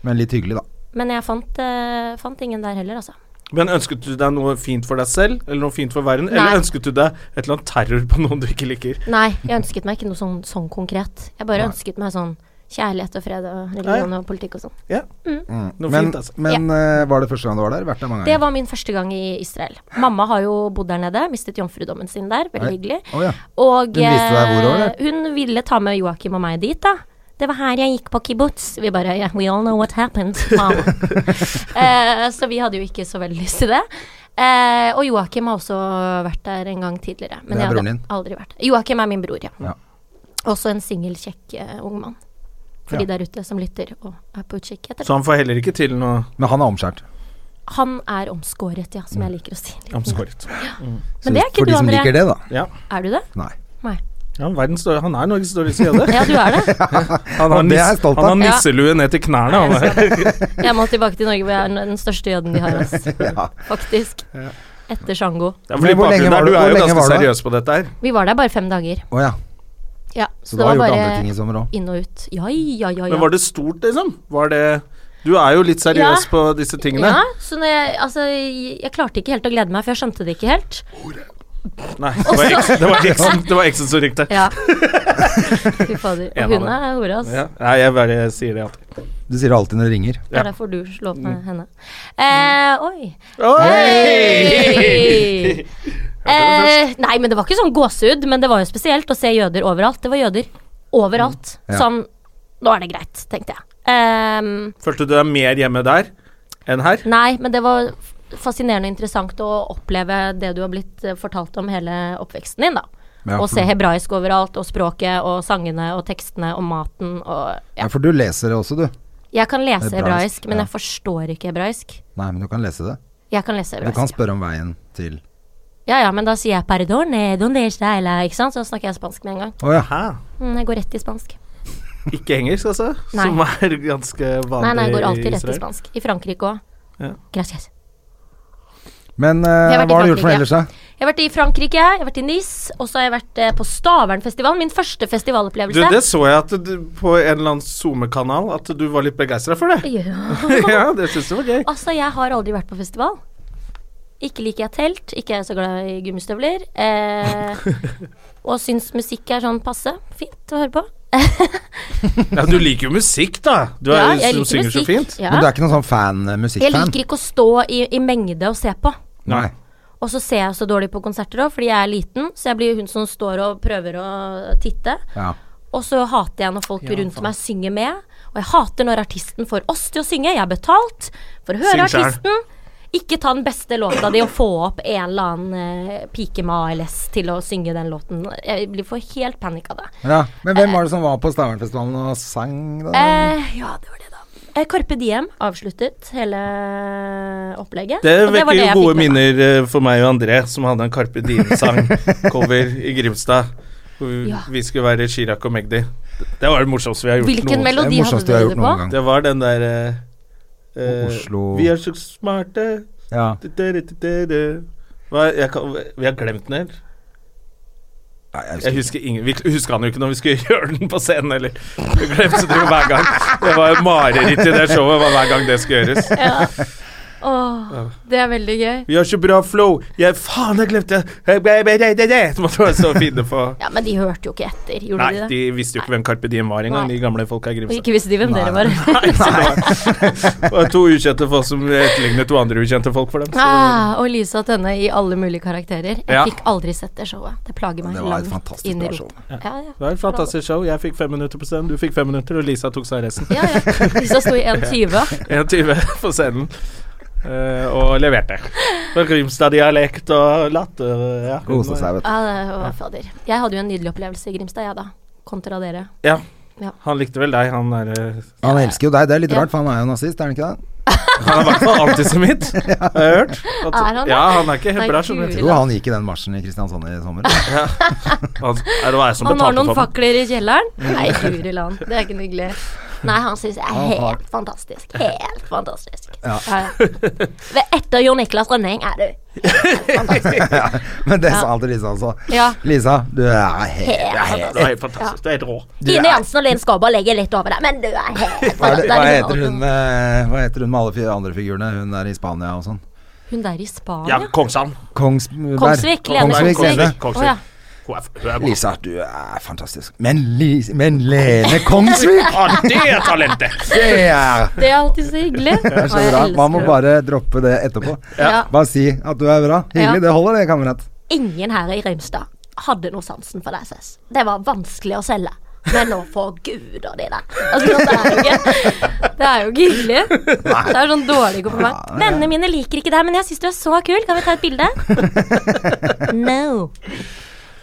S2: Men litt hyggelig, da.
S3: Men jeg fant, eh, fant ingen der heller, altså.
S1: Men ønsket du deg noe fint for deg selv, eller noe fint for verden?
S3: Nei.
S1: Eller ønsket du deg et eller annet terror på noen du ikke liker?
S3: Nei, jeg ønsket meg ikke noe sånn, sånn konkret. Jeg bare
S2: Nei.
S3: ønsket meg sånn kjærlighet og fred og religion og politikk og sånn.
S2: Mm.
S1: Noe
S2: Men,
S1: fint, altså.
S2: men eh, var det første gang du var der? Vært der mange
S3: Det
S2: ganger?
S3: var min første gang i Israel. Mamma har jo bodd der nede, mistet jomfrudommen sin der, veldig
S2: Oi.
S3: hyggelig.
S2: Å ja.
S3: Og
S2: Hun viste deg hvor da,
S3: eh, hun ville ta med Joakim og meg dit, da. Det var her jeg gikk på kibbutz. Vi bare yeah, We all know what happened. mom. eh, så vi hadde jo ikke så veldig lyst til det. Eh, og Joakim har også vært der en gang tidligere. Men
S2: Det er
S3: jeg
S2: broren din?
S3: hadde aldri vært der. Joakim er min bror, ja.
S2: Ja.
S3: Også en singel, kjekk eh, ung mann. For
S2: Ja.
S3: de der ute som lytter og er på utkikk etter.
S1: Så han får heller ikke til noe
S2: Men han er omskjært.
S3: Han er omskåret, ja, som jeg liker å si.
S1: omskåret.
S2: Mm. Så
S3: det er ikke
S2: for
S3: du,
S2: de som
S3: André.
S2: liker det, da.
S1: Ja.
S3: Er du det?
S2: Nei.
S3: Nei.
S1: Ja, verdens større, han er Norges størrelse jøde.
S3: Ja, du er det.
S1: Han har,
S2: Og det er jeg
S1: nis,
S2: stolt
S1: han har
S2: av.
S3: Ja.
S1: nisselue ned til knærne. Han er.
S3: Jeg må tilbake til Norge, hvor jeg er den- den største jøden vi har, altså.
S2: Ja.
S3: faktisk. Etter Sjango.
S1: Det er fordi
S2: Men hvor lenge
S1: bakgrunnen
S2: var
S1: er-
S2: du-
S1: Du
S2: hvor
S1: er jo
S2: lenge
S1: ganske
S2: var du?
S1: seriøs på dette her.
S3: Vi var der bare fem dager.
S2: Å ja.
S3: Ja,
S2: Så, du har gjort andre ting i sommer òg.
S3: inn og ut. Ja, ja, ja. ja.
S1: Men var det stort, liksom? Var det Du er jo litt seriøs
S3: Ja.
S1: på disse tingene.
S3: Ja, så når jeg, altså, jeg jeg klarte ikke helt å glede meg, for jeg skjønte det ikke helt.
S1: Nei, det var eksen- det var eksen- det var eksen som ringte.
S3: Ja. Fy fader.
S1: En av
S3: Og hun
S1: dem.
S3: er hore, ass.
S1: Ja. Nei, jeg bare sier det alltid.
S2: Du sier det alltid når det ringer.
S3: Det er derfor du slo opp
S2: Mm.
S3: med henne. Eh, oi.
S1: Oi!
S3: Hey! Eh, nei, men det var ikke sånn gåsehud, men det var jo spesielt å se jøder overalt. Det var jøder overalt.
S2: Mm, Ja.
S3: Sånn Nå er det greit, tenkte jeg. Ehm,
S1: Følte du deg mer hjemme der enn her?
S3: Nei, men det var fascinerende og interessant å oppleve det du har blitt eh, fortalt om hele oppveksten din, da.
S2: Ja,
S3: og
S2: for-
S3: se hebraisk overalt, og språket, og sangene, og tekstene, og maten, og
S2: Ja,
S3: ja.
S2: for du leser det også, du.
S3: Jeg kan lese
S2: Hebraisk,
S3: hebraisk, men
S2: ja.
S3: jeg forstår ikke hebraisk.
S2: Nei, men du kan lese det.
S3: Jeg kan lese
S2: Du kan
S3: hebraisk.
S2: spørre om veien til
S3: Ja ja, men da sier jeg perdone, donde es deila, ikke sant? Så snakker jeg spansk med en gang.
S2: Å ja.
S1: Hæ?
S3: Mm, jeg går rett i spansk.
S1: Ikke engelsk, altså?
S3: Nei.
S1: Som er ganske vanlig
S3: Nei, nei, jeg går alltid rett i
S1: Israel.
S3: spansk. I Frankrike òg.
S1: Ja.
S3: Gracias.
S2: Men eh,
S3: Jeg har vært i
S2: hva har du gjort for noe ellers,
S3: Frankrike.
S2: da?
S3: Jeg har vært i Frankrike, jeg har vært i Nice, og så har jeg vært eh, på Stavernfestivalen. Min første
S1: Du,
S3: festivalopplevelse.
S1: det så jeg at du, på en eller annen SoMe-kanal at du var litt begeistra for det.
S3: Ja.
S1: ja, det syns jeg var gøy.
S3: Altså, jeg har aldri vært på festival. Ikke liker jeg telt, ikke er jeg så glad i gummistøvler. Eh, og syns musikk er sånn passe fint å høre på.
S1: Ja, du liker jo musikk, da. Du er,
S3: jeg
S1: du
S3: liker
S1: synger så
S3: musikk.
S1: fint.
S3: Ja.
S2: Men du er ikke noen sånn fan
S3: Jeg
S2: musikkfan?
S3: liker ikke å stå i, i mengde og se på.
S2: Nei.
S3: Og så ser jeg så dårlig på konserter òg, fordi jeg er liten. Så jeg blir hun som står og prøver å titte.
S2: Ja.
S3: Og så hater jeg når folk rundt meg synger med. Og jeg hater når artisten får oss til å synge. Jeg har betalt for å høre
S1: Syng selv.
S3: artisten. Ikke ta den beste låta di og få opp en eller annen eh, pike med ALS til å synge den låten. Jeg blir for helt panikk av det.
S2: Ja, Men hvem var det som var på Stavernfestivalen og sang? Da?
S3: Eh, ja, det var det, da. Eh, Carpe Diem avsluttet hele opplegget.
S1: Det
S3: og var
S1: vekker jo
S3: jeg
S1: gode
S3: fikk med meg.
S1: minner eh, for meg og André, som hadde en Carpe Diem-sang-cover i Grimstad. Hvor vi-
S3: Ja.
S1: Vi skulle være Chirag og Magdi. Det var det morsomste vi har gjort
S3: Hvilken
S1: noensinne.
S3: melodi
S2: Det er
S3: hadde
S2: morsomste jeg har
S3: dere
S2: gjort
S3: det på?
S2: noen gang.
S1: Det var den der eh, eh,
S2: Oslo-
S1: Vi er så smarte
S2: Ja.
S1: Du-du-du-du-du. Hva, jeg kan, Vi har glemt den helt.
S2: Nei, jeg
S1: Jeg
S2: husker.
S1: husker ingen Vi husker han jo ikke når vi skulle gjøre den på scenen heller. Vi glemte det jo hver gang. Det var jo mareritt i det showet var hver gang det skulle gjøres.
S3: Ja. Åh, det er veldig gøy.
S1: Vi har så bra flow. Jeg, faen, jeg glemte det! Så måtte jeg så finne på
S3: Ja, Men de hørte jo ikke etter, gjorde
S1: Nei,
S3: de det?
S1: de visste jo ikke hvem Carpe Diem var engang,
S3: Nei.
S1: de gamle folka i
S3: Og
S1: Grimstad.
S3: ikke visste de hvem dere var.
S1: Det var to ukjente folk som etterlignet to andre ukjente folk for dem. Så.
S3: Ah, og Lisa Tønne i alle mulige karakterer. Jeg
S1: Ja.
S3: fikk aldri sett det showet. Det plager meg
S2: Det var et
S3: langt
S2: fantastisk
S3: inn i
S2: bra show.
S3: roten. Ja, ja.
S1: Det var et fantastisk show. Jeg fikk fem minutter på scenen, du fikk fem minutter, og Lisa tok seg resten.
S3: Ja, ja. Lisa sto i 1,20.
S1: 21 på scenen. eh, og leverte. Og Grimstad-dialekt og latter. Ja.
S2: Kosa seg, vet du.
S3: Ja, Ah, det var fader. Jeg hadde jo en nydelig opplevelse i Grimstad, jeg da. Kontra dere.
S1: Ja.
S3: Ja.
S1: Han likte vel deg, han er eh,
S2: Han elsker jo deg, det er litt
S3: Ja.
S2: rart, for han er jo nazist, er han ikke det?
S1: Han er i hvert fall antisemitt, har jeg hørt. At,
S3: Er han det?
S1: ja, han er ikke
S3: Nei,
S1: hebra, skjønner
S3: Gud.
S1: du.
S2: Jo, han gikk i den marsjen i Kristiansand i sommer.
S1: Han, er det jeg som
S3: Han har
S1: betalte
S3: noen
S1: for den?
S3: fakler i kjelleren. Nei, guri land. Det er ikke noe hyggelig. Nei, han syns jeg er
S2: har-
S3: helt fantastisk. Helt fantastisk.
S2: Ja.
S3: ja. Ved- Etter Jon Niklas Rønning er du
S2: Men det sa han til Lisa også.
S3: Ja.
S2: Lisa, du er helt
S3: helt
S1: Du er
S3: fantastisk.
S1: helt fantastisk. Du er helt rå.
S3: Ine Jansen og Linn Skåber ligger litt over deg, men du er helt
S2: hva, er det,
S3: fantastisk.
S2: hva, heter hun med, hva heter hun med alle fi- andre figurene? Hun er i Spania og sånn.
S3: Hun der i
S1: Ja,
S3: Spania?
S1: Kongshamn.
S2: Kongsberg.
S3: Kongsvik, Lene
S2: Kongsvik,
S3: Kongsvik.
S2: Lene.
S1: Kongsvik.
S3: Å, ja.
S1: Hun er, hun er god.
S2: Lisa, du er fantastisk. Men, Lis- men Lene Kongsvik!
S1: Ah, det er talentet!
S2: Det er
S3: Det er alltid så hyggelig.
S2: det er så bra. Man må bare droppe det etterpå.
S3: Ja.
S2: Bare si at du er bra. Hyggelig.
S3: Ja.
S2: Det holder, det, kamerat.
S3: Ingen her i Grimstad hadde noe sansen for deg, Cess. Det var vanskelig å selge. Men nå forguder de deg. Altså, det, er jo ikke, det er jo ikke hyggelig. Det er sånn dårlig kompliment. Vennene mine liker ikke deg, men jeg syns du er så kul. Kan vi ta et bilde? No.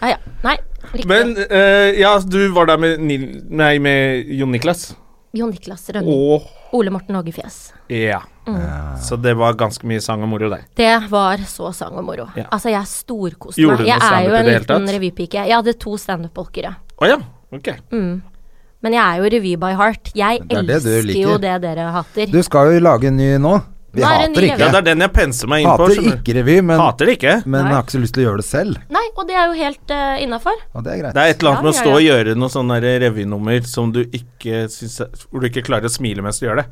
S3: Ah, Ja, ja. Nei. Riktig.
S1: Men eh, ja, du var der med, Nil, nei, med Jon Niklas.
S3: Jon Niklas Rønning.
S1: Og
S3: Ole Morten Ågefjes.
S1: Ja.
S3: Mm.
S1: Så det var ganske mye sang og moro der.
S3: Det var så sang og moro.
S1: Ja.
S3: Altså, jeg storkoste
S1: Gjorde
S3: meg.
S1: du
S3: Jeg
S1: noe
S3: er jo en
S1: standup i det hele
S3: liten
S1: tatt?
S3: revypike. Jeg hadde to standup-bolkere.
S1: Å ja, ok.
S3: Mm. Men jeg er jo revy by heart. Jeg
S2: Det er det du
S3: elsker
S2: liker.
S3: jo det dere hater.
S2: Du skal jo lage en ny nå. Vi
S3: Nå er det en
S2: hater
S3: ny
S2: ikke.
S1: Ja, det er den jeg penser meg inn på.
S2: Hater
S1: skjønner du.
S2: ikke revy, men,
S1: Hater det ikke.
S2: men
S3: Nei.
S2: har ikke så lyst til å gjøre det selv.
S3: Nei, og det er jo helt uh, innafor.
S2: Og det er greit.
S1: Det er et eller annet med å
S3: Ja, ja,
S1: stå og
S3: ja.
S1: gjøre noe sånn der revynummer som du ikke syns er- Hvor du ikke klarer å smile mens du gjør det.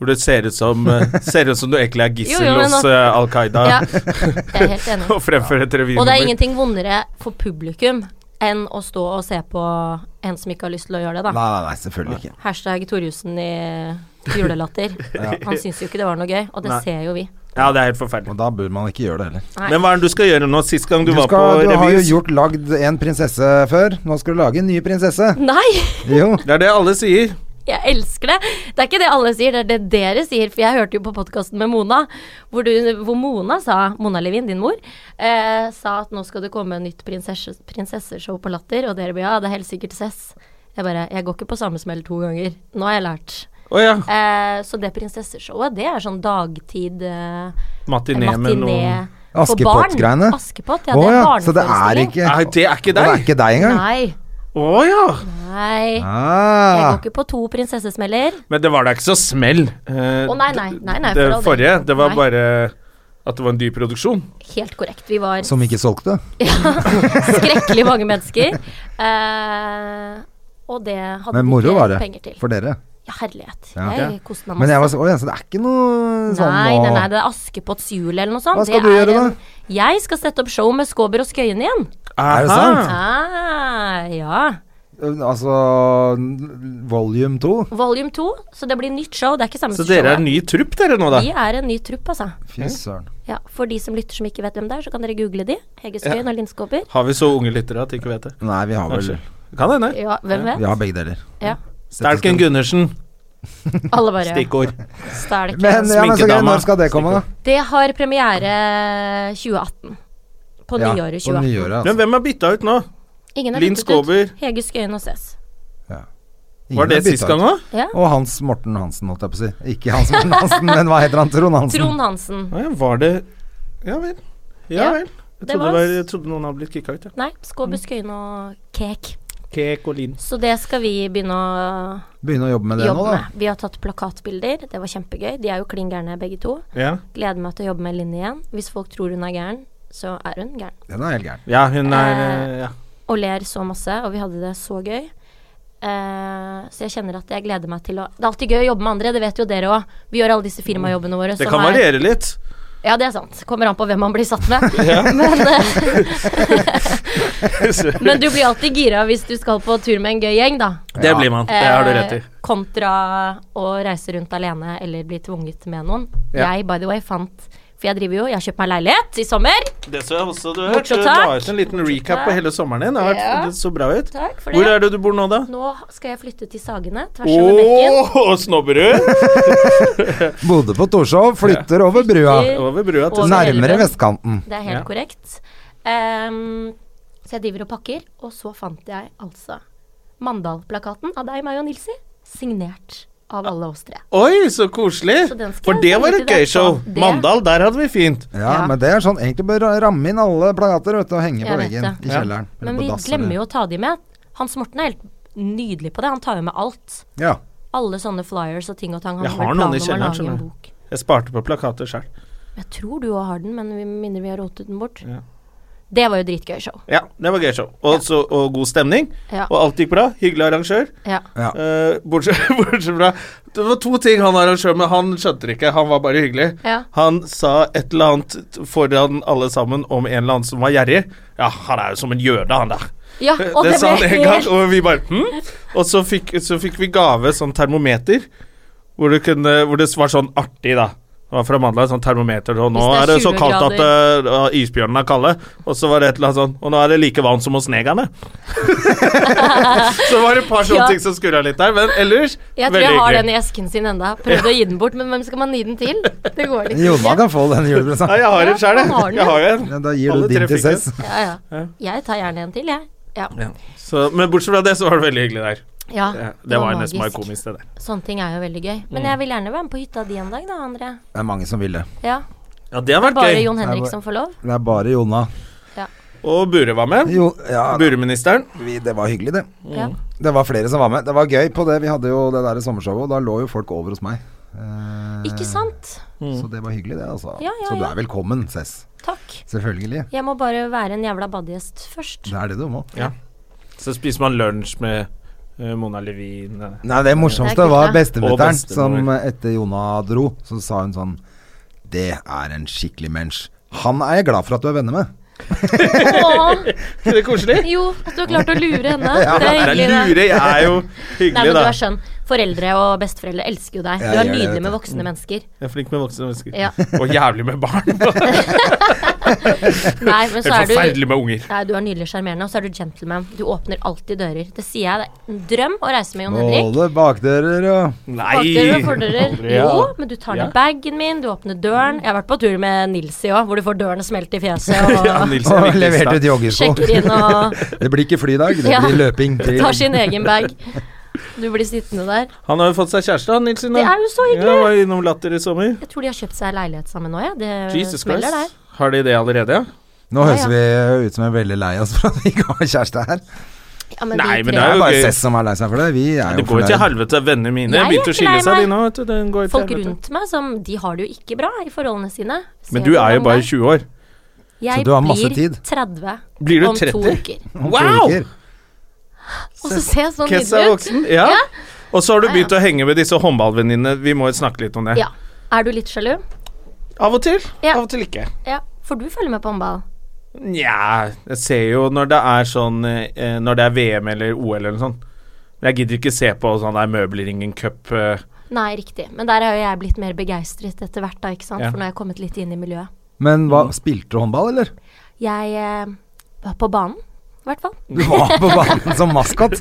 S1: Hvor det ser ut som, eh, ser ut som du egentlig er gissel
S3: Jo, jo, men
S1: hos
S3: nå-
S1: eh, Al Qaida
S3: Ja, jeg er helt enig.
S1: og fremfører et revynummer.
S3: Og det er ingenting vondere for publikum enn å stå og se på en som ikke har lyst til å gjøre det, da.
S2: Nei, nei, nei, selvfølgelig ikke.
S3: Hashtag Torjussen i julelatter. Han syns jo ikke det var noe gøy, og det
S1: Nei.
S3: ser jo vi.
S1: Ja, det er helt forferdelig.
S2: Og da bør man ikke gjøre det heller.
S3: Nei.
S1: Men hva er det du skal gjøre nå? Sist gang du,
S2: Du,
S1: var
S2: skal,
S1: på
S2: du har jo
S1: revy
S2: gjort lagd en prinsesse før. Nå skal du lage en ny prinsesse.
S3: Nei!
S2: Jo.
S1: Det er det alle sier.
S3: Jeg elsker det. Det er ikke det alle sier, det er det dere sier. For jeg hørte jo på podkasten med Mona, hvor, du, hvor Mona sa Mona Levin, din mor, eh, sa at nå skal det komme nytt prinsesse, prinsesseshow på Latter, og dere blir ja, det er helt sikkert Cess. Jeg bare Jeg går ikke på samme smell to ganger. Nå har jeg lært.
S1: Å ja.
S3: Eh, så det prinsesseshowet, det er sånn dagtid eh,
S1: Matiné med
S3: Matiné
S1: noen
S3: for barn.
S2: Askepott-greiene.
S3: Askepott, ja.
S2: Å
S3: det er
S2: ja,
S3: barneforestilling.
S2: så det er ikke
S1: Nei, det er ikke
S2: Og det er
S1: deg.
S2: ikke deg engang?
S3: Nei.
S1: Å ja.
S3: Nei. Jeg
S2: Ah,
S3: går ikke på to prinsessesmeller.
S1: Men det var da ikke så smell. eh,
S3: Å, nei, nei, nei, nei, for
S1: det
S3: all del.
S1: forrige, det var
S3: Nei.
S1: bare at det var en dyr produksjon.
S3: Helt korrekt. Vi var
S2: som ikke solgte?
S3: skrekkelig mange mennesker. Eh, og det hadde
S2: Men
S3: vi
S2: moro
S3: ikke
S2: var det.
S3: penger til.
S2: For dere.
S3: Ja, herlighet.
S2: Ja.
S3: Jeg koste meg masse.
S2: Men jeg var så, å, ja, så det er ikke noe sånn
S3: nei,
S2: nå-
S3: nei, nei, det er Askepotts jul eller noe sånt.
S2: Hva
S3: Det
S2: skal du
S3: er
S2: gjøre da?
S3: en- Jeg skal sette opp show med Skåber og Skøyen igjen.
S2: Er det sant?
S3: Ah, ja.
S2: Altså Volume 2.
S3: Volume 2, så det blir nytt show. Det er ikke samme
S1: Så
S3: som
S1: dere er
S3: showet.
S1: ny trupp, dere nå, da?
S3: Vi er en ny trupp, altså.
S2: Fy søren.
S3: Ja, for de som lytter som ikke vet hvem det er, så kan dere google de. Hege Skøyen og Linn Skåber.
S1: Har vi så unge lyttere at de ikke vet det?
S2: Nei, vi har vel
S1: Kanskje. Kan hende.
S3: Ja, hvem vet?
S2: Vi har begge deler.
S3: Ja.
S1: Stelken Gundersen.
S3: Alle bare
S1: Stikkord.
S2: Altså.
S3: stæl ikke.
S2: Men, ja, men så greit,
S1: Sminkedama.
S2: når skal det komme, da?
S3: Det har premiere 2018. På
S2: Ja,
S3: nyåret
S2: På
S3: 2018.
S2: nyåret, altså.
S1: Men hvem er bytta ut nå?
S3: Ingen er
S1: Linn
S3: byttet ut.
S1: Skåber.
S3: Hege Skøyen og Cess.
S2: altså. Ingen
S1: Var det
S2: er bytta
S1: sist
S2: ut.
S1: gang òg?
S3: Ja.
S2: Og Hans Morten Hansen, holdt jeg på å si. Ikke Hans Morten Hansen, men hva heter han? Trond Hansen.
S3: Trond Hansen.
S1: Ja, var det Ja vel. Ja,
S3: Ja,
S1: vel. Jeg
S3: det
S1: trodde, det
S3: var-
S1: var, jeg trodde noen hadde blitt kicka ut, ja.
S3: Nei, Skåber,
S2: Mm.
S3: Skøyen og Kek.
S1: Kek og Linn.
S3: Så det skal vi begynne å
S2: Begynne å jobbe med det
S3: jobbe
S2: nå, da.
S3: med. Vi har tatt plakatbilder, det var kjempegøy. De er jo klin gærne begge to.
S1: Ja.
S3: Gleder meg til å jobbe med Linn igjen. Hvis folk tror hun er gæren, så er hun gæren.
S2: Den er helt gæren.
S1: ja, hun er
S3: Eh,
S1: eh, ja.
S3: Og ler så masse, og vi hadde det så gøy. Eh, så jeg kjenner at jeg gleder meg til å Det er alltid gøy å jobbe med andre, det vet jo dere òg. Vi gjør alle disse firmajobbene våre.
S1: Det
S3: som
S1: kan
S3: er-
S1: variere litt.
S3: Ja, det er sant. Kommer an på hvem man blir satt med. men, eh, men du blir alltid gira hvis du skal på tur med en gøy gjeng, da.
S1: Det blir man. Det har du rett i.
S3: Eh, Kontra å reise rundt alene eller bli tvunget med noen.
S1: Ja.
S3: Jeg, by the way, fant For jeg driver jo Jeg har kjøpt meg leilighet i sommer.
S1: Det så jeg også. Du,
S3: Bortsett
S1: hørte- du
S3: takk.
S1: la ut en liten recap på hele sommeren din. Det har
S3: Ja.
S1: vært- det så bra ut.
S3: Takk for
S1: Hvor
S3: det.
S1: er det du bor nå, da?
S3: Nå skal jeg flytte til Sagene, tvers over bekken.
S1: Ååå, Snobberud!
S2: Bodde på Torshov, flytter over brua.
S1: Over brua til
S3: Over
S2: Nærmere
S3: elven.
S2: vestkanten.
S3: Det er helt
S1: Ja.
S3: korrekt. Ehm, så jeg driver og pakker, og så fant jeg altså Mandal-plakaten av deg, meg og Nilsi, signert av alle oss tre.
S1: Oi, så koselig!
S3: Så den skal
S1: For
S3: jeg
S1: det
S3: sende
S1: var
S3: til
S1: et
S3: deg
S1: gøy show.
S3: etterpå. Det-
S1: Mandal, der hadde vi fint.
S2: Ja,
S3: Ja.
S2: men det er sånn Egentlig bør ramme inn alle plakater vet du, og henge på
S3: Jeg vet
S2: veggen
S3: det.
S2: i
S1: Ja.
S2: kjelleren.
S3: Men vi glemmer jo å ta de med. Hans Morten er helt nydelig på det. Han tar jo med alt.
S2: Ja.
S3: Alle sånne flyers og ting og tang. Han
S1: Jeg
S3: vel
S1: har noen i
S3: planer om å
S1: kjelleren,
S3: lage en
S1: skjønner du.
S3: bok.
S1: Jeg sparte på plakater sjøl.
S3: Jeg tror du òg har den, men vi minner vi har rotet den bort.
S1: Ja.
S3: Det var jo dritgøy show.
S1: Ja, det var gøy show. Og, så, og god stemning.
S3: Ja.
S1: Og alt gikk bra. Hyggelig arrangør.
S3: Ja.
S2: ja.
S1: Eh, bortsett, bortsett fra Det var to ting han arrangør, men han skjønte det ikke. Han var bare hyggelig.
S3: Ja.
S1: Han sa et eller annet foran alle sammen om en eller annen som var gjerrig. Ja, han er jo som en jøde, han der.
S3: ja og
S1: det,
S3: det,
S1: sa han
S3: ble
S1: en gang,
S3: helt
S1: og vi bare hm? Og så fikk, så fikk vi gave sånn termometer, hvor, du kunne, hvor det var sånn artig, da. Det var fra mandag, sånn termometer, og nå
S3: Hvis
S1: er
S3: det er
S1: det så
S3: 20
S1: kaldt at eh, isbjørnene er kalde. Og så var det et eller annet sånn Og nå er det like varmt som hos negerne. så var det et par sånne
S3: Ja.
S1: ting som skurra litt der, men ellers
S3: Jeg tror
S1: veldig
S3: jeg har den
S1: hyggelig.
S3: i esken sin enda Prøvde å gi den bort, men hvem skal man gi den til? Det går liksom
S2: Jonna kan få den
S1: Ja,
S2: julepresangen.
S1: jeg har
S3: Ja,
S1: en sjæl,
S3: han har den,
S1: jeg. jeg har jo
S2: Ja,
S1: en.
S2: da gir du
S1: Alle
S2: din
S1: tre
S2: til
S1: fikk den.
S2: Cess.
S3: Ja, ja. Jeg tar gjerne en til, jeg. Ja.
S1: Så, men bortsett fra det, så var det veldig hyggelig der.
S3: ja
S1: Ja, det var jo
S3: magisk.
S1: nesten bare komisk, Mm. det der.
S3: Sånne ting er jo veldig gøy. Men jeg vil gjerne være med på hytta di en dag, da, André.
S2: Det er mange som vil det.
S3: Ja.
S1: Ja, det har vært
S3: Bare
S1: gøy.
S3: Jon Henrik
S2: bare-
S3: som får lov.
S2: Det er bare Jonna.
S1: Og Bure var med.
S2: Jo, ja,
S1: Bureministeren.
S2: vi, det var hyggelig, det.
S3: Ja.
S2: Det var flere som var med. Det var gøy på det. Vi hadde jo det der sommershowet, og da lå jo folk over hos meg. Eh,
S3: Ikke sant?
S2: Så det var hyggelig, det, altså.
S3: Ja, ja,
S2: så du
S3: ja.
S2: er velkommen, Cess.
S3: Takk.
S2: Selvfølgelig.
S3: Jeg må bare være en jævla badegjest først.
S2: Det er det du må.
S1: Så spiser man lunsj med eh, Mona Levin. eh.
S2: Nei, det
S3: Det
S2: morsomste
S3: er kult,
S2: var
S3: da.
S1: Og
S2: bestemutteren
S1: bestemor.
S2: som eh, etter Jona dro, så sa hun sånn Det er en skikkelig mensch. Han er jeg glad for at du er venner med.
S3: Åh,
S1: Er det koselig?
S3: jo, at du har klart å lure henne. Det er
S1: Nei,
S3: hyggelig, det.
S1: lure jeg er jo
S3: Nei, men
S1: hyggelig,
S3: du
S1: da.
S3: er skjønn. Foreldre og besteforeldre elsker jo deg.
S2: Ja,
S3: Du er
S2: jeg gjør det, vet
S3: nydelig med
S2: du.
S3: voksne mennesker.
S1: Jeg er flink med voksne mennesker.
S3: Ja.
S1: Og jævlig med barn.
S3: Nei, men så
S1: Helt
S3: er du
S1: forferdelig med unger.
S3: Nei, du er nydelig sjarmerende, og så er du gentleman. Du åpner alltid dører. Det sier jeg. Det er en drøm å reise med Jon Henrik.
S2: Både bakdører og
S1: Nei!
S3: Bakdører og fordører.
S1: Aldri, ja.
S3: Jo, men du tar
S1: Ja.
S3: ned bagen min, du åpner døren. Jeg har vært på tur med Nilsi òg, hvor du får dørene smelt i fjeset og
S1: Ja, Nils er
S2: Og
S1: viktigst,
S2: leverte ut
S1: da.
S2: joggesko.
S3: sjekker inn og
S2: Det blir ikke flydag, det
S3: Ja.
S2: blir løping.
S3: tar sin egen bag. Du blir sittende der.
S1: Han har jo fått seg kjæreste, han Nilsen.
S3: Det er jo så
S1: Ja,
S3: hyggelig!
S1: var innom Latter i sommer.
S3: Jeg tror de har kjøpt seg leilighet sammen nå, jeg. Det
S1: Jesus
S3: smeller Eh, der.
S1: Christ. Har de det allerede, ja?
S2: Nå
S3: Ja,
S2: høres vi eh, ut som er veldig lei oss for at vi ikke har kjæreste her.
S3: Ja, men
S1: Nei,
S3: de tre-
S1: men
S2: Det
S1: er
S2: er
S1: jo
S2: bare
S1: gøy.
S2: Cess som er lei seg for det. Vi er
S1: Det
S2: jo
S1: går jo til
S2: fornøyd.
S1: helvete. Vennene mine
S3: Jeg er
S1: begynte å
S3: ikke
S1: skille
S3: lei
S1: seg,
S3: meg.
S1: de nå. Vet du. Den går til
S3: Folk
S1: helvete.
S3: rundt meg som De har det jo ikke bra i forholdene sine. Ser
S1: Men du er jo
S3: hvordan
S1: bare
S3: det
S1: 20 år.
S3: Jeg
S2: Så du har masse tid.
S3: blir 30
S1: Blir du
S3: om to
S1: 30?
S3: uker.
S1: Wow!
S3: Og så ser jeg sånn
S1: Kess er
S3: nydelig ut.
S1: voksen. Ja.
S3: Ja.
S1: Og så har du
S3: Ja, ja.
S1: begynt å henge med disse håndballvenninnene. Vi må jo snakke litt om det.
S3: Ja. Er du litt sjalu?
S1: Av og til.
S3: Ja.
S1: Av og til ikke.
S3: Ja. For du følger med på håndball?
S1: Nja, jeg ser jo når det er sånn eh, Når det er VM eller OL eller noe sånt. Men Jeg gidder ikke se på sånn der Møbelringen Cup eh.
S3: Nei, riktig. Men der har jo jeg blitt mer begeistret etter hvert, da, ikke sant.
S1: Ja.
S3: For nå har jeg kommet litt inn i miljøet.
S2: Men hva, spilte du håndball, eller?
S3: Jeg eh, var på banen, i hvert fall.
S2: Du var på banen som maskot.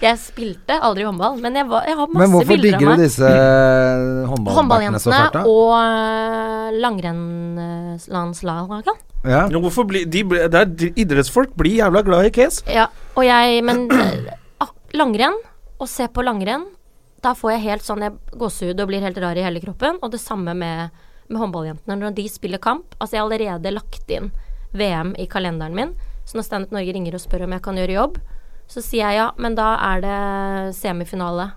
S3: Jeg spilte aldri håndball, men jeg, var, jeg har
S2: Men
S3: masse
S2: hvorfor
S3: bilder av
S2: digger du
S3: meg.
S2: disse eh, håndballbackene så
S3: Håndballjentene
S2: fælt, da?
S3: og øh, langrennslandslagene.
S2: Ja.
S1: Jo, hvorfor blir de, blir- det er d- idrettsfolk blir jævla glad i Kes.
S3: Ja, og jeg Men eh, ak- langrenn, å se på langrenn, da får jeg helt sånn Jeg gåsehud og blir helt rar i hele kroppen. Og det samme med, med håndballjentene. Når de spiller kamp Altså, jeg har allerede lagt inn VM i kalenderen min. Så når Standup Norge ringer og spør om jeg kan gjøre jobb, så sier jeg ja, men da er det semifinale.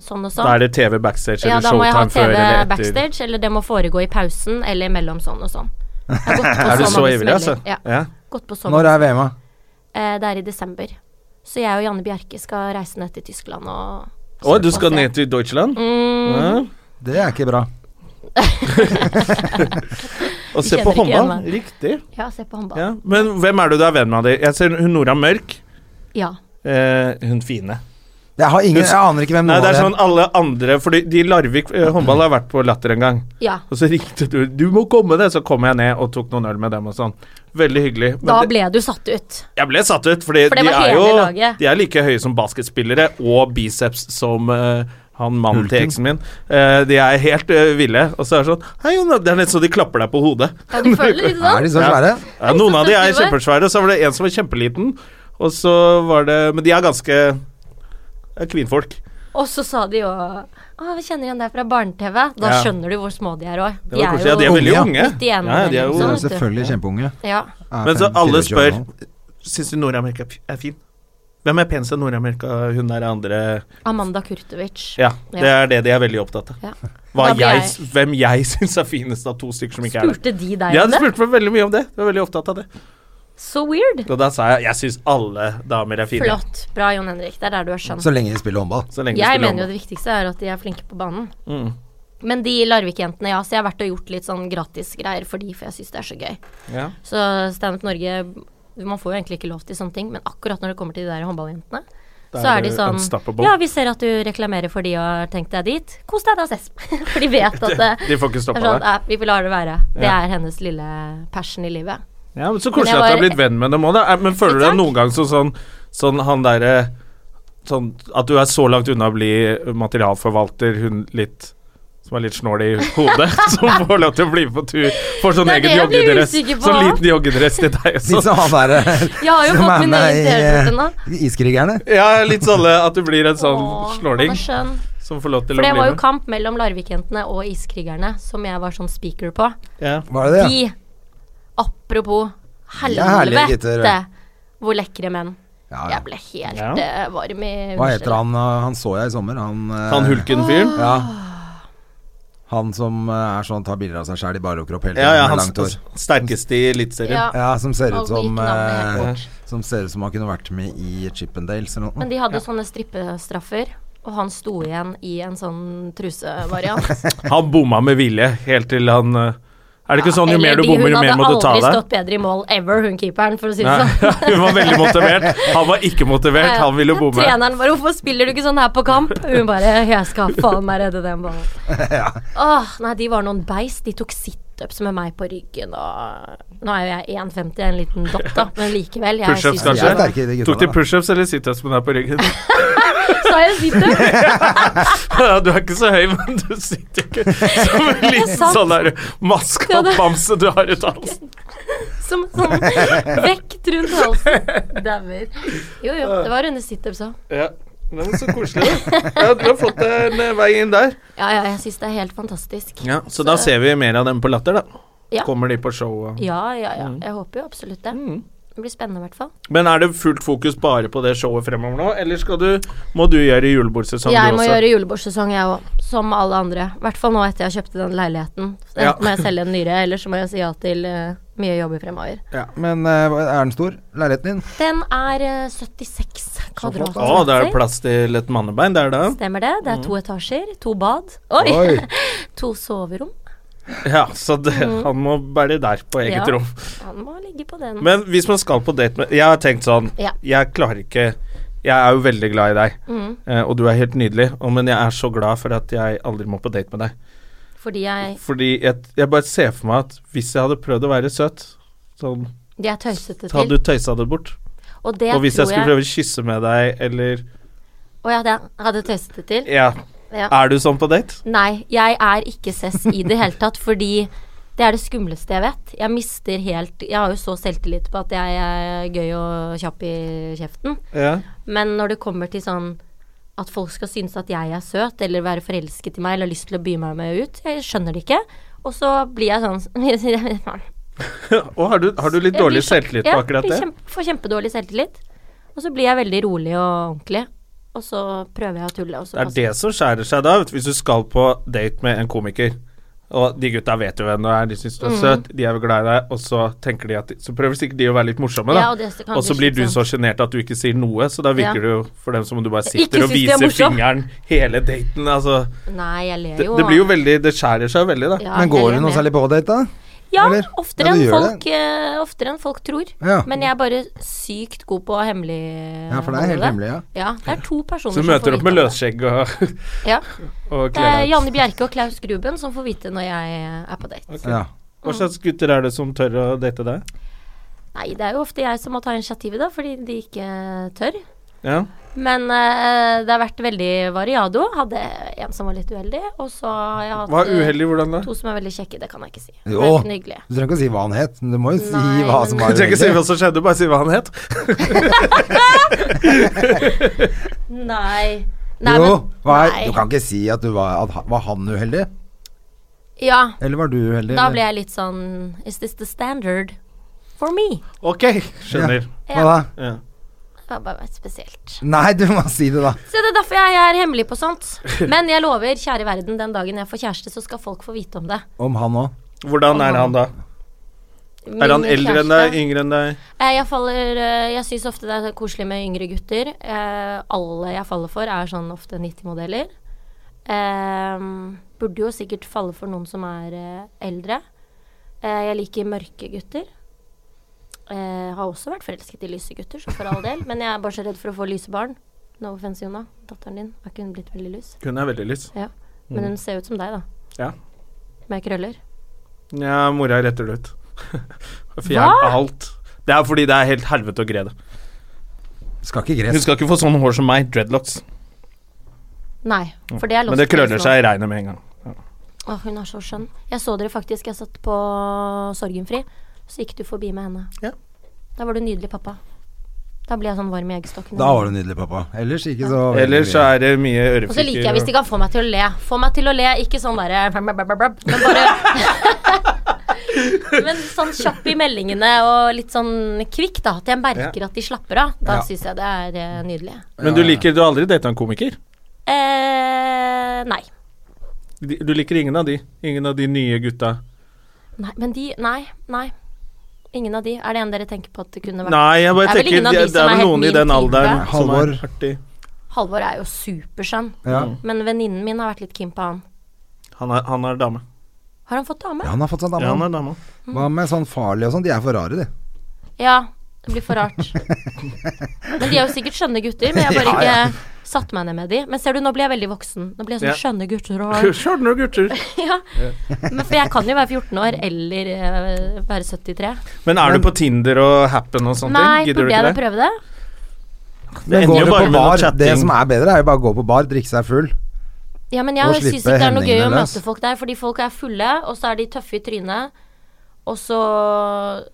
S3: Sånn og sånn.
S1: Da er det TV backstage
S3: ja,
S1: eller
S3: da må jeg ha
S1: showtime før
S3: TV
S1: eller etter.
S3: backstage, eller det må foregå i pausen eller imellom sånn og sånn. Jeg har gått på
S1: Er du så
S3: mange
S1: ivrig, altså?
S3: smeller. Ja.
S1: Ja.
S3: Gått på så mange
S2: Når er VM-a?
S3: Eh, det er i desember. Så jeg og Janne Bjerke skal reise ned til Tyskland og
S1: Å, du skal ned til Deutschland?
S3: Mm.
S1: Ja.
S2: Det er ikke bra.
S1: Og se
S3: kjenner
S1: på
S3: ikke igjen
S1: håndball. Riktig.
S3: Ja, se på håndball. Ja.
S1: Ja. Men hvem er det du er venn med av de? Jeg ser hun Nora Mørk. Eh, hun fine.
S2: Jeg, har ingen, jeg aner ikke hvem
S1: Nei,
S2: noen
S1: det er
S2: av
S1: sånn alle andre Fordi de i Larvik eh, håndball har vært på Latter en gang.
S3: ja.
S1: Og så ringte du 'Du må komme det!' Så kom jeg ned og tok noen øl med dem og sånn. Veldig hyggelig. Men
S3: Da
S1: det-
S3: ble du satt ut.
S1: jeg ble satt ut, fordi
S3: For det
S1: de
S3: var
S1: er
S3: hele
S1: jo
S3: laget.
S1: De er like høye som basketspillere, og biceps som eh, han mannen til
S2: Hulken.
S1: eksen min. Eh, de er helt eh, ville. Og så er det sånn Hei, Jon, Det er nesten så de klapper deg på hodet.
S3: Ja, du føler litt
S2: Er
S3: sånn.
S2: de så svære?
S1: Ja, noen av de er
S3: Så søt du var.
S1: kjempesvære, og så var det en som var kjempeliten. Og så var det Men de er ganske eh, kvinnfolk.
S3: Og så sa de jo Å, vi kjenner igjen deg fra barne-TV. Da
S1: Ja.
S3: skjønner du hvor små de er òg.
S1: Det var koselig. ja, de er veldig
S2: Unge,
S1: unge.
S3: Midt i
S1: Ja,
S3: enden,
S1: de er
S2: De
S1: jo
S3: liksom.
S2: er selvfølgelig kjempeunge.
S3: ja.
S2: Er
S1: Men så
S2: fem-
S1: alle
S2: 24 år
S1: spør
S2: gammel.
S1: Syns du Nord-Amerika er fi- er fin? Hvem er penest av Nord-Amerika? Hun der andre
S3: Amanda Kurtovic.
S1: Ja,
S3: Ja.
S1: det er det de er veldig opptatt av.
S3: Ja.
S1: Hva
S3: Da blir
S1: jeg,
S3: jeg-
S1: hvem jeg syns er finest av to stykker som ikke er der.
S3: Spurte de deg
S1: Ja,
S3: om
S1: de
S3: det?
S1: spurte meg veldig mye om det. Jeg var veldig opptatt av det.
S3: Så weird.
S1: Og da sa jeg jeg syns alle damer er fine.
S3: Flott. Bra, Jon Henrik. Det er der du er skjønn.
S2: Så lenge de spiller håndball.
S1: Så lenge de
S3: Jeg
S1: spiller
S3: mener jo
S1: håndball.
S3: det viktigste er at de er flinke på banen.
S1: Mm.
S3: Men de Larvik-jentene, ja. Så jeg har vært og gjort litt sånn gratisgreier for de, for jeg syns det er så gøy.
S1: Ja.
S3: Så Standup Norge Man får jo egentlig ikke lov til sånne ting, men akkurat når det kommer til de der håndballjentene,
S1: Da
S3: så
S1: er
S3: er de
S1: det
S3: sånn
S1: unstoppable.
S3: Ja, vi ser at du reklamerer for de og har tenkt deg dit. Kos deg da, ses. for de vet at det,
S1: De får ikke
S3: det er
S1: stoppa
S3: sånn
S1: det.
S3: ja, Vi lar det være. Det
S1: Ja.
S3: er hennes lille passion i livet.
S1: Ja, men så
S3: Men
S1: koselig
S3: jeg
S1: at du har
S3: var-
S1: blitt venn med dem òg, da. Er- Men føler du deg
S3: Takk.
S1: noen gang som sånn, sånn han derre Sånn at du er så langt unna å bli materialforvalter, hun litt som er litt snål i hodet, som får lov til å bli med på tur. Får
S3: Det
S1: sånn
S3: er det
S1: egen
S3: jeg blir
S1: joggedress.
S3: usikker på.
S1: Sånn liten joggedress til deg
S2: Litt
S1: også.
S2: som han der
S3: Jeg har jo
S2: som
S3: fått
S2: er
S3: min egen TV-pute nå.
S2: med i Iskrigerne.
S1: Ja, litt sånn at du blir en sånn
S3: Åh,
S1: snåling
S3: han er skjønn.
S1: som får lov til
S3: For
S1: å
S3: det
S1: bli
S3: var jo
S1: med.
S3: kamp mellom Larvik-jentene og Iskrigerne, som jeg var sånn speaker på.
S1: Ja.
S2: Var det det?
S3: De, apropos
S2: er herlige gutter.
S3: helvete, hvor lekre menn.
S2: Ja, ja.
S3: Jeg ble helt
S1: Ja.
S3: eh, varm i
S2: Hva heter han? uh, Han så jeg i sommer. Han, uh,
S1: Han hulken-fyren.
S2: Ja. Han som uh, er sånn tar bilder av seg sjæl i barokropp hele tiden
S1: Ja, ja,
S2: med
S1: han
S2: langt hår.
S1: sterkeste i Eliteserien.
S3: Ja.
S2: Ja, som ser
S3: Nå
S2: ut som
S3: gikk navnet helt
S2: eh,
S3: bort.
S2: Som ser ut som han kunne vært med i Chippendales eller noe.
S3: Men de hadde sånne strippestraffer, og han sto igjen i en sånn trusevariant.
S1: Han bomma med vilje helt til han eh, Er det ikke sånn jo
S3: Eller
S1: mer du
S3: de-
S1: bommer, jo mer må
S3: Hun
S1: du ta
S3: hadde aldri
S1: deg?
S3: stått bedre i mål ever, hun keeperen, for å si det
S1: Nei,
S3: sånn.
S1: hun var veldig motivert. Han var ikke motivert, han ville bomme.
S3: Treneren bare 'Hvorfor spiller du ikke sånn her på kamp?' Hun bare 'Jeg skal faen meg redde den ballen'. Åh, nei, de var noen beist. De tok situps med meg på ryggen og Nå er jo jeg 1,50, en liten dott, da, men likevel. jeg
S1: Pushups,
S3: synes
S2: De er
S1: kanskje?
S2: sterke, de
S1: Tok de
S2: gutta.
S1: pushups eller situps med deg på ryggen?
S3: det var- Sa jeg situps?
S1: Ja, du er ikke så høy, men du sitter ikke som en liten
S3: satt-
S1: sånn der maskatbamse du har ut av halsen.
S3: Som sånn vekt rundt halsen. Dauer. Jo, jo. Det var under situps òg.
S1: Ja. Det var så koselig, da. Ja, du har fått deg en eh, vei inn der.
S3: Ja, ja, jeg syns det er helt fantastisk.
S1: Ja, så da ser vi mer av dem på Latter, da.
S3: Ja.
S1: Kommer de på show og
S3: Ja, ja, ja.
S1: Mm.
S3: Jeg håper jo absolutt det. Det blir spennende, i hvert fall.
S1: Men er det fullt fokus bare på det showet fremover nå, eller skal du, må du gjøre julebordsesong,
S3: Jeg
S1: du
S3: må
S1: også?
S3: gjøre julebordsesong, jeg òg. Som alle andre. I hvert fall nå etter jeg kjøpte den leiligheten. Enten
S1: Ja.
S3: må jeg selge en nyre, eller så må jeg si ja til eh, mye jobber fremover.
S2: Ja, men eh, hva- er den stor, leiligheten din?
S3: Den er eh, 76 kvadratmeter.
S1: Å, Ah, det er Mm. plass til et mannebein der, da.
S3: Stemmer det. Det er to etasjer, to bad. Oi!
S2: Oi.
S3: to soverom.
S1: Ja, så det, han må bære der på eget
S3: Mm. Ja.
S1: rom.
S3: Han må ligge på den.
S1: Men hvis man skal på date med Jeg har tenkt sånn
S3: Ja.
S1: Jeg klarer ikke Jeg er jo veldig glad i deg,
S3: Mm.
S1: eh, og du er helt nydelig, og, men jeg er så glad for at jeg aldri må på date med deg.
S3: Fordi jeg,
S1: Fordi jeg, jeg bare ser for meg at hvis jeg hadde prøvd å være søt, sånn
S3: jeg er tøysete
S1: så hadde
S3: til.
S1: du tøysa det bort.
S3: Og det
S1: Og hvis jeg
S3: tror
S1: skulle
S3: jeg,
S1: prøve å kysse med deg, eller
S3: Å ja, det hadde tøyset det til.
S1: Ja.
S3: Ja.
S1: Er du sånn på date?
S3: Nei, jeg er ikke sess i det hele tatt, fordi det er det skumleste jeg vet. Jeg mister helt Jeg har jo så selvtillit på at jeg er gøy og kjapp i kjeften.
S1: Ja.
S3: Men når det kommer til sånn at folk skal synes at jeg er søt, eller være forelsket i meg, eller har lyst til å by meg med ut, jeg skjønner det ikke. Og så blir jeg sånn Litt
S1: Og har du, har du litt dårlig selvtillit på akkurat
S3: Ja,
S1: det?
S3: blir kjempe, får kjempedårlig selvtillit. Og så blir jeg veldig rolig og ordentlig. Og så prøver jeg å tulle, og så
S1: Det er det som skjærer seg da, vet du, hvis du skal på date med en komiker. Og de gutta vet jo hvem du er, de syns du er
S3: Mm.
S1: søt, de er jo glad i deg, og så tenker de at de, Så prøver sikkert de å være litt morsomme, da.
S3: Ja, og det kan
S1: og så
S3: bli
S1: blir du så
S3: slitsomt.
S1: sjenert at du ikke sier noe, så da
S3: Ja.
S1: virker det jo for dem som om du bare
S3: Ikke
S1: sitter og
S3: synes de er
S1: viser
S3: morsom.
S1: fingeren hele daten. Altså,
S3: Nei, jeg ler
S1: det,
S3: jo.
S1: det blir jo veldig Det skjærer seg veldig, da.
S3: Ja, jeg
S2: Men går
S3: ler
S2: du noe
S3: med.
S2: særlig på date, da?
S3: Ja,
S2: Eller?
S3: oftere
S2: Ja, du
S3: enn
S2: gjør
S3: folk, eh, oftere enn folk tror.
S2: Ja.
S3: Men jeg er bare sykt god på hemmelig
S2: Ja, for det er helt
S3: holde.
S2: hemmelig, ja.
S3: Ja, det er to personer
S1: Så
S3: som
S1: du møter
S3: får
S1: opp
S3: vite
S1: med
S3: om det.
S1: løsskjegg og,
S3: Ja.
S1: og
S3: Det er
S1: klær.
S3: Janne Bjerke og Klaus Gruben som får vite når jeg er på date.
S2: Ja.
S1: Hva slags gutter er det som tør å date deg?
S3: Nei, det er jo ofte jeg som må ta initiativet, da, fordi de ikke tør.
S1: Ja.
S3: Men eh, det har vært veldig variado. Hadde en som var litt uheldig, og så har jeg hatt
S1: Hva er
S3: eh,
S1: uheldig? Hvordan da?
S3: to som er veldig kjekke. Det kan jeg ikke si. Det er
S2: Jo,
S3: ikke noe hyggelig.
S2: du trenger ikke å si hva han het. men Du må jo si
S3: Nei,
S2: hva
S3: men-
S2: som
S3: Du
S2: var
S1: Du trenger ikke si
S2: uheldig.
S1: hva som skjedde, bare si hva han het.
S3: Nei. Nei,
S2: Jo,
S3: men-
S2: hva er,
S3: nei.
S2: du kan ikke si at du var at, ha- Var han uheldig?
S3: Ja,
S2: Eller var du uheldig?
S3: da
S2: eller?
S3: ble jeg litt sånn Is this the standard for me?
S1: Ok, skjønner.
S2: Hva da?
S1: Ja.
S3: Det var bare spesielt.
S2: Nei, du må si det, da.
S3: Så det er derfor jeg er hemmelig på sånt. Men jeg lover, kjære verden, den dagen jeg får kjæreste, så skal folk få vite om det.
S2: Om han òg.
S1: Hvordan er han da?
S3: Min
S1: Er han eldre enn
S3: kjæreste-
S1: deg? Yngre enn deg?
S3: Eh, Jeg faller eh, Jeg syns ofte det er koselig med yngre gutter. Eh, Alle jeg faller for, er sånn ofte 90-modeller. Ehm, Burde jo sikkert falle for noen som er eh, eldre. Eh, Jeg liker mørke gutter. Eh, har også vært forelsket i lyse gutter, så for all del. Men jeg er bare så redd for å få lyse barn. No offense, Jonna. Datteren din. Har ikke hun blitt veldig lys?
S1: Hun er veldig lys.
S3: Ja.
S1: Mm.
S3: Men hun ser ut som deg, da.
S1: Ja.
S3: Med krøller.
S1: Ja, mora retter det ut. Fjern alt. Det er fordi det er helt helvete å gre det.
S2: Skal ikke
S1: Hun
S2: gress.
S1: skal ikke få sånne hår som meg, dreadlocks.
S3: Nei, for det er lost
S1: Men det krøller
S3: cause nå.
S1: seg i regnet med en gang.
S3: Å, hun er så skjønn. Jeg så dere faktisk, jeg satt på Sorgenfri. Så gikk du forbi med henne.
S1: Ja.
S3: Da var du nydelig pappa. Da ble jeg sånn varm i eggstokkene.
S2: Da var du nydelig, pappa. Ellers ikke så veldig
S1: Ellers så
S2: mye.
S1: er det mye
S3: Og så liker
S1: ørefiker
S3: jeg hvis de kan få meg til å le. Få meg til å le, ikke sånn derre men bare Men sånn kjapp i meldingene og litt sånn kvikk, da. At jeg merker at de slapper av. Da
S2: Ja.
S3: syns jeg det er eh, nydelig.
S1: Men du liker Du har aldri data en komiker?
S3: Eh, nei.
S1: De- Du liker ingen av de? Ingen av de nye gutta?
S3: Nei, men de Nei, nei. Ingen av de. Er det en dere tenker på at det kunne vært
S1: Nei, jeg bare
S3: Det er vel
S1: tenker
S3: ingen av de
S1: Det det
S3: som
S1: er
S3: er
S1: vel
S3: helt
S1: noen i
S3: min
S1: den
S3: type.
S1: alderen som er
S2: Halvor.
S1: artig.
S3: Halvor er jo superskjønn.
S2: ja.
S3: Men venninnen min har vært litt keen på han.
S1: Han er, han er dame.
S3: Har han fått dame?
S2: ja,
S3: Ja.
S2: han har fått seg
S1: Ja, han
S2: dame.
S1: er dame.
S2: Hva med sånn farlig og sånn? De er for rare, de.
S3: det blir for rart. men de er jo sikkert skjønne gutter, men jeg har bare
S2: Ja, ja.
S3: ikke satt meg ned med de. Men ser du, nå blir jeg veldig voksen. Nå blir jeg sånn
S1: Ja.
S3: skjønne gutter og
S1: Skjønner du, gutter.
S3: ja. Men for jeg kan jo være 14 år eller eh, være 73.
S1: Men er du på Tinder og Happen og sånne
S3: Nei,
S1: ting? Gidder du
S3: burde jeg da
S1: ikke det?
S3: prøve det?
S1: Det
S2: Men
S1: ender
S2: går
S1: jo
S2: du
S1: bare
S2: på
S1: med noe
S2: bar? Det
S1: chatting.
S2: som er bedre, er jo bare å gå på bar, drikke seg full.
S3: Ja, men
S2: Og
S3: jeg syns
S2: slippe
S3: ikke det er noe gøy å
S2: hemningene løs.
S3: møte folk der, fordi folk er fulle, og så er de tøffe i trynet, og så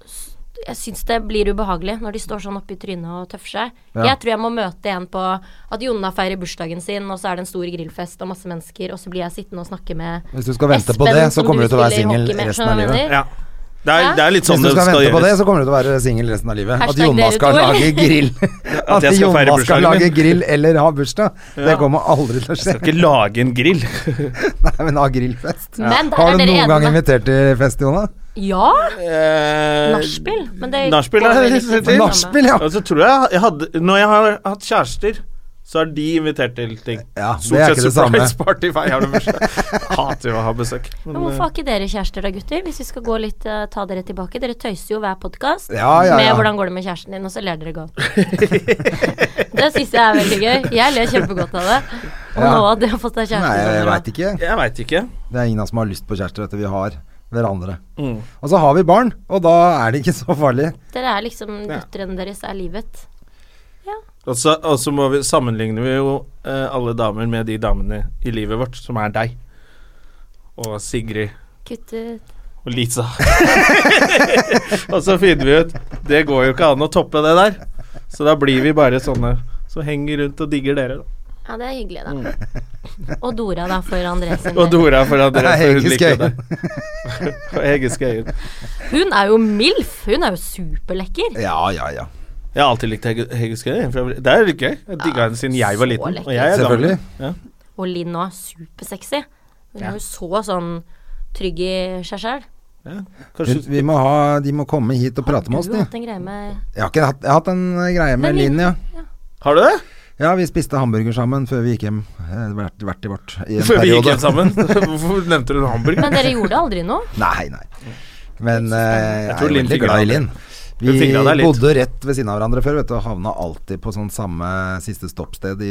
S3: s- Jeg syns det blir ubehagelig når de står sånn oppe i trynet og tøffer seg.
S2: Ja.
S3: Jeg tror jeg må møte en på at Jonna feirer bursdagen sin, og så er det en stor grillfest og masse mennesker, og så blir jeg sittende og snakke med
S2: Hvis du skal vente på
S3: Espen,
S2: det, så
S3: som
S2: kommer du til å være
S3: spiller
S2: singel
S3: hockey med,
S2: resten
S3: skjønner
S2: av
S3: du hva jeg
S2: livet.
S1: Ja. Det er,
S3: Hæ?
S1: det er litt
S2: Hvis
S1: sånn
S2: du
S1: det
S2: skal
S1: skal
S2: vente på det,
S1: gjøres.
S2: så kommer du til å være singel resten av livet. At
S3: Hashtag
S2: Jonna
S3: dere
S2: skal
S3: to.
S2: lage grill
S1: At
S2: At
S1: jeg skal feire
S2: Jonna skal
S1: bursdagen
S2: lage
S1: min.
S2: grill eller ha bursdag, det kommer aldri til å skje.
S1: Skal ikke lage en grill.
S2: Nei, men ha grillfest.
S3: Men der
S2: Har
S3: er
S2: du
S3: dere
S2: noen gang
S3: enige. med-
S2: invitert til fest, Jonna?
S3: Ja! Eh,
S1: Nachspiel?
S3: Nachspiel. Men det
S1: Nachspiel
S3: går
S1: er
S3: vel
S1: litt
S3: ikke
S1: til.
S3: sammen.
S2: Nachspiel, ja.
S1: Og så tror jeg, jeg hadde, Når jeg har hatt kjærester, så er de invitert til ting.
S2: Ja, det er ikke det samme.
S1: surprise party feirer det første. Hater jo å ha besøk.
S3: Men hvorfor
S2: eh,
S3: har ikke dere kjærester da, gutter? Hvis vi skal gå litt, eh, ta dere tilbake. Dere tøyser jo hver podkast
S2: Ja, ja,
S3: med
S2: ja.
S3: 'hvordan går det med kjæresten din', og så ler dere godt. det syns jeg er veldig gøy. Jeg ler kjempegodt av det. Og
S2: Ja.
S3: nå at dere har fått deg kjæreste
S2: Nei,
S3: sånn,
S2: jeg
S3: da.
S2: veit ikke.
S1: Jeg veit ikke.
S2: Det er ingen av oss som har lyst på kjærester, vet du. Vi har hverandre.
S1: Mm.
S2: Og så har vi barn, og da er det ikke så farlig.
S3: Dere er liksom gutter enn deres er livet.
S1: Og så, og så må vi, sammenligner vi jo eh, alle damer med de damene i livet vårt, som er deg. Og Sigrid
S3: Kutt ut.
S1: og Lisa. og så finner vi ut Det går jo ikke an å toppe det der. Så da blir vi bare sånne som henger rundt og digger dere. da.
S3: Ja, det er hyggelig, da.
S2: Mm.
S3: Og Dora, da, for André sin
S1: Og
S3: del.
S1: Dora for at dere
S2: Nei,
S1: for hun
S2: Hege
S1: liker
S2: Skøyen.
S1: deg. og Hege Skøyen.
S3: Hun er jo MILF! Hun er jo superlekker.
S2: Ja, ja, ja.
S1: Jeg har alltid likt Hege, Hege Skøyen. for jeg- Det er litt gøy. Jeg digga henne siden jeg var
S3: så
S1: liten.
S3: lekker.
S1: Og jeg er gammel.
S2: Selvfølgelig.
S1: Ja.
S3: Og Linn nå er supersexy. Hun er jo så sånn trygg i seg sjøl.
S2: Vi,
S1: Kanskje
S2: vi må ha, de må komme hit og prate med oss,
S3: Du
S2: de.
S3: har hatt en greie med
S2: Jeg har, ikke hatt, jeg har hatt en eh, greie med
S3: Nei, vi-
S2: Linn, ja.
S1: Har du det?
S2: Ja, vi spiste hamburger sammen før vi gikk hjem. Eh, Hvert, hvert i vårt. I en
S1: Før vi gikk
S2: periode.
S1: hjem sammen? Hvorfor nevnte du en hamburger?
S3: Men dere gjorde aldri noe?
S2: Nei, nei. Men eh, jeg,
S1: tror
S2: er
S1: Linn
S2: veldig
S1: fingra
S2: glad i
S1: deg.
S2: Linn. Vi
S1: Hun fingra deg litt.
S2: bodde rett ved siden av hverandre før, vet du, og havna alltid på sånn samme siste stoppsted i,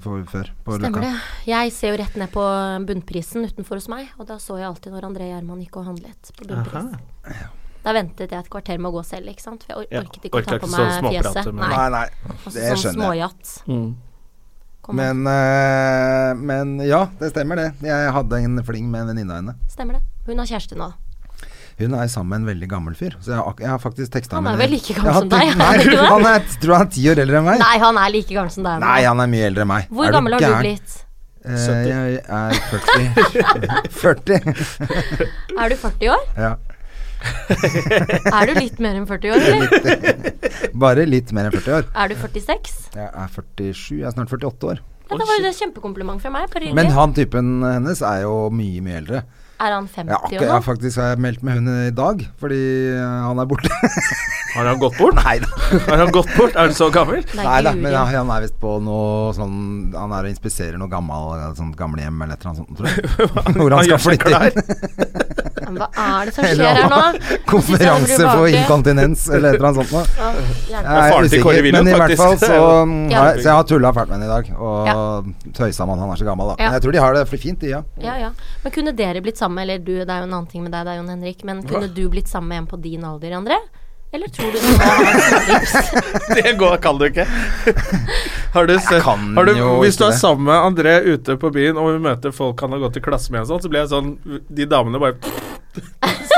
S2: for, før. På
S3: Stemmer det. Jeg ser jo rett ned på bunnprisen utenfor hos meg, og da så jeg alltid når André Gjerman gikk og handlet på bunnpris.
S1: Aha.
S3: Da ventet jeg et kvarter med å gå selv, ikke sant? For jeg or
S1: Ja,
S3: orket ikke å ta
S1: orket
S3: på
S1: ikke
S3: meg
S1: sånn småprat,
S3: fjeset.
S1: men-
S3: Nei.
S2: Nei, nei.
S3: Og så
S2: Det
S3: sånn
S2: skjønner jeg.
S3: småjatt.
S1: Mm.
S3: Kom an.
S2: Men, eh, men ja, det stemmer det. Jeg hadde en fling med en venninne av henne.
S3: Stemmer det. Hun har kjæreste nå.
S2: Hun er sammen med en veldig gammel fyr. Så jeg, har ak- jeg har faktisk teksta
S3: Han
S2: med
S3: er
S2: henne.
S3: vel like gammel
S2: Jeg har
S3: som deg,
S2: tenkt-
S3: er han ikke det?
S2: Nei, han er, tror han er ti år eldre enn meg.
S3: Nei, han er like gammel som deg.
S2: Nei,
S3: André.
S2: han er mye eldre enn meg.
S3: Hvor gammel har du blitt?
S2: Eh, jeg er 40. 40.
S3: Er du 40 år?
S2: Ja.
S3: Er du litt mer enn 40 år, eller?
S2: Bare litt mer enn 40 år.
S3: Er du 46?
S2: Jeg er 47, jeg er snart 48 år.
S3: Ja, det var jo et kjempekompliment fra meg. Bare
S2: Men
S3: hyggelig.
S2: han typen hennes er jo mye, mye eldre.
S3: Er han 50
S2: Jeg, har akkurat,
S3: år
S2: jeg
S3: nå?
S2: har faktisk har jeg meldt med hun i dag, fordi eh, han er borte.
S1: Har han gått bort?
S2: Nei da.
S1: Har han gått bort? Er han så gammel?
S2: Nei da,
S3: guri.
S2: men han han er visst på noe sånn Han er og inspiserer noe gammel, sånt gamlehjem eller et eller annet sånt, tror jeg. Hvor han skal
S1: gjør seg
S2: flytte inn.
S3: Men Hva er det som skjer
S2: Eller
S3: her nå?
S2: han- konferanse for inkontinens eller et eller annet sånt noe.
S3: inkontinens.
S2: Jeg er
S1: faren til Kåre
S2: usikker,
S1: Willoch,
S2: men i hvert
S1: faktisk.
S2: fall så mm,
S3: Ja.
S2: har jeg, Så jeg har tulla fælt med henne i dag, og tøysa med han, han er så gammel, da.
S3: Ja.
S2: Men jeg tror de har det fl- fint, de, ja.
S3: Ja, ja. Men kunne dere blitt sammen, eller du, det er jo en annen ting med deg, det er Jon Henrik, men kunne du blitt sammen med en på din alder, André? Eller tror du du må ha en tips?
S1: Det går, kan du ikke. Har du sett,
S2: kan
S1: har du,
S2: jo
S1: hvis
S2: ikke
S1: du er
S2: det.
S1: sammen med André ute på byen, og vi møter folk han har gått i klasse med, og sånn, så blir jeg sånn De damene bare Se-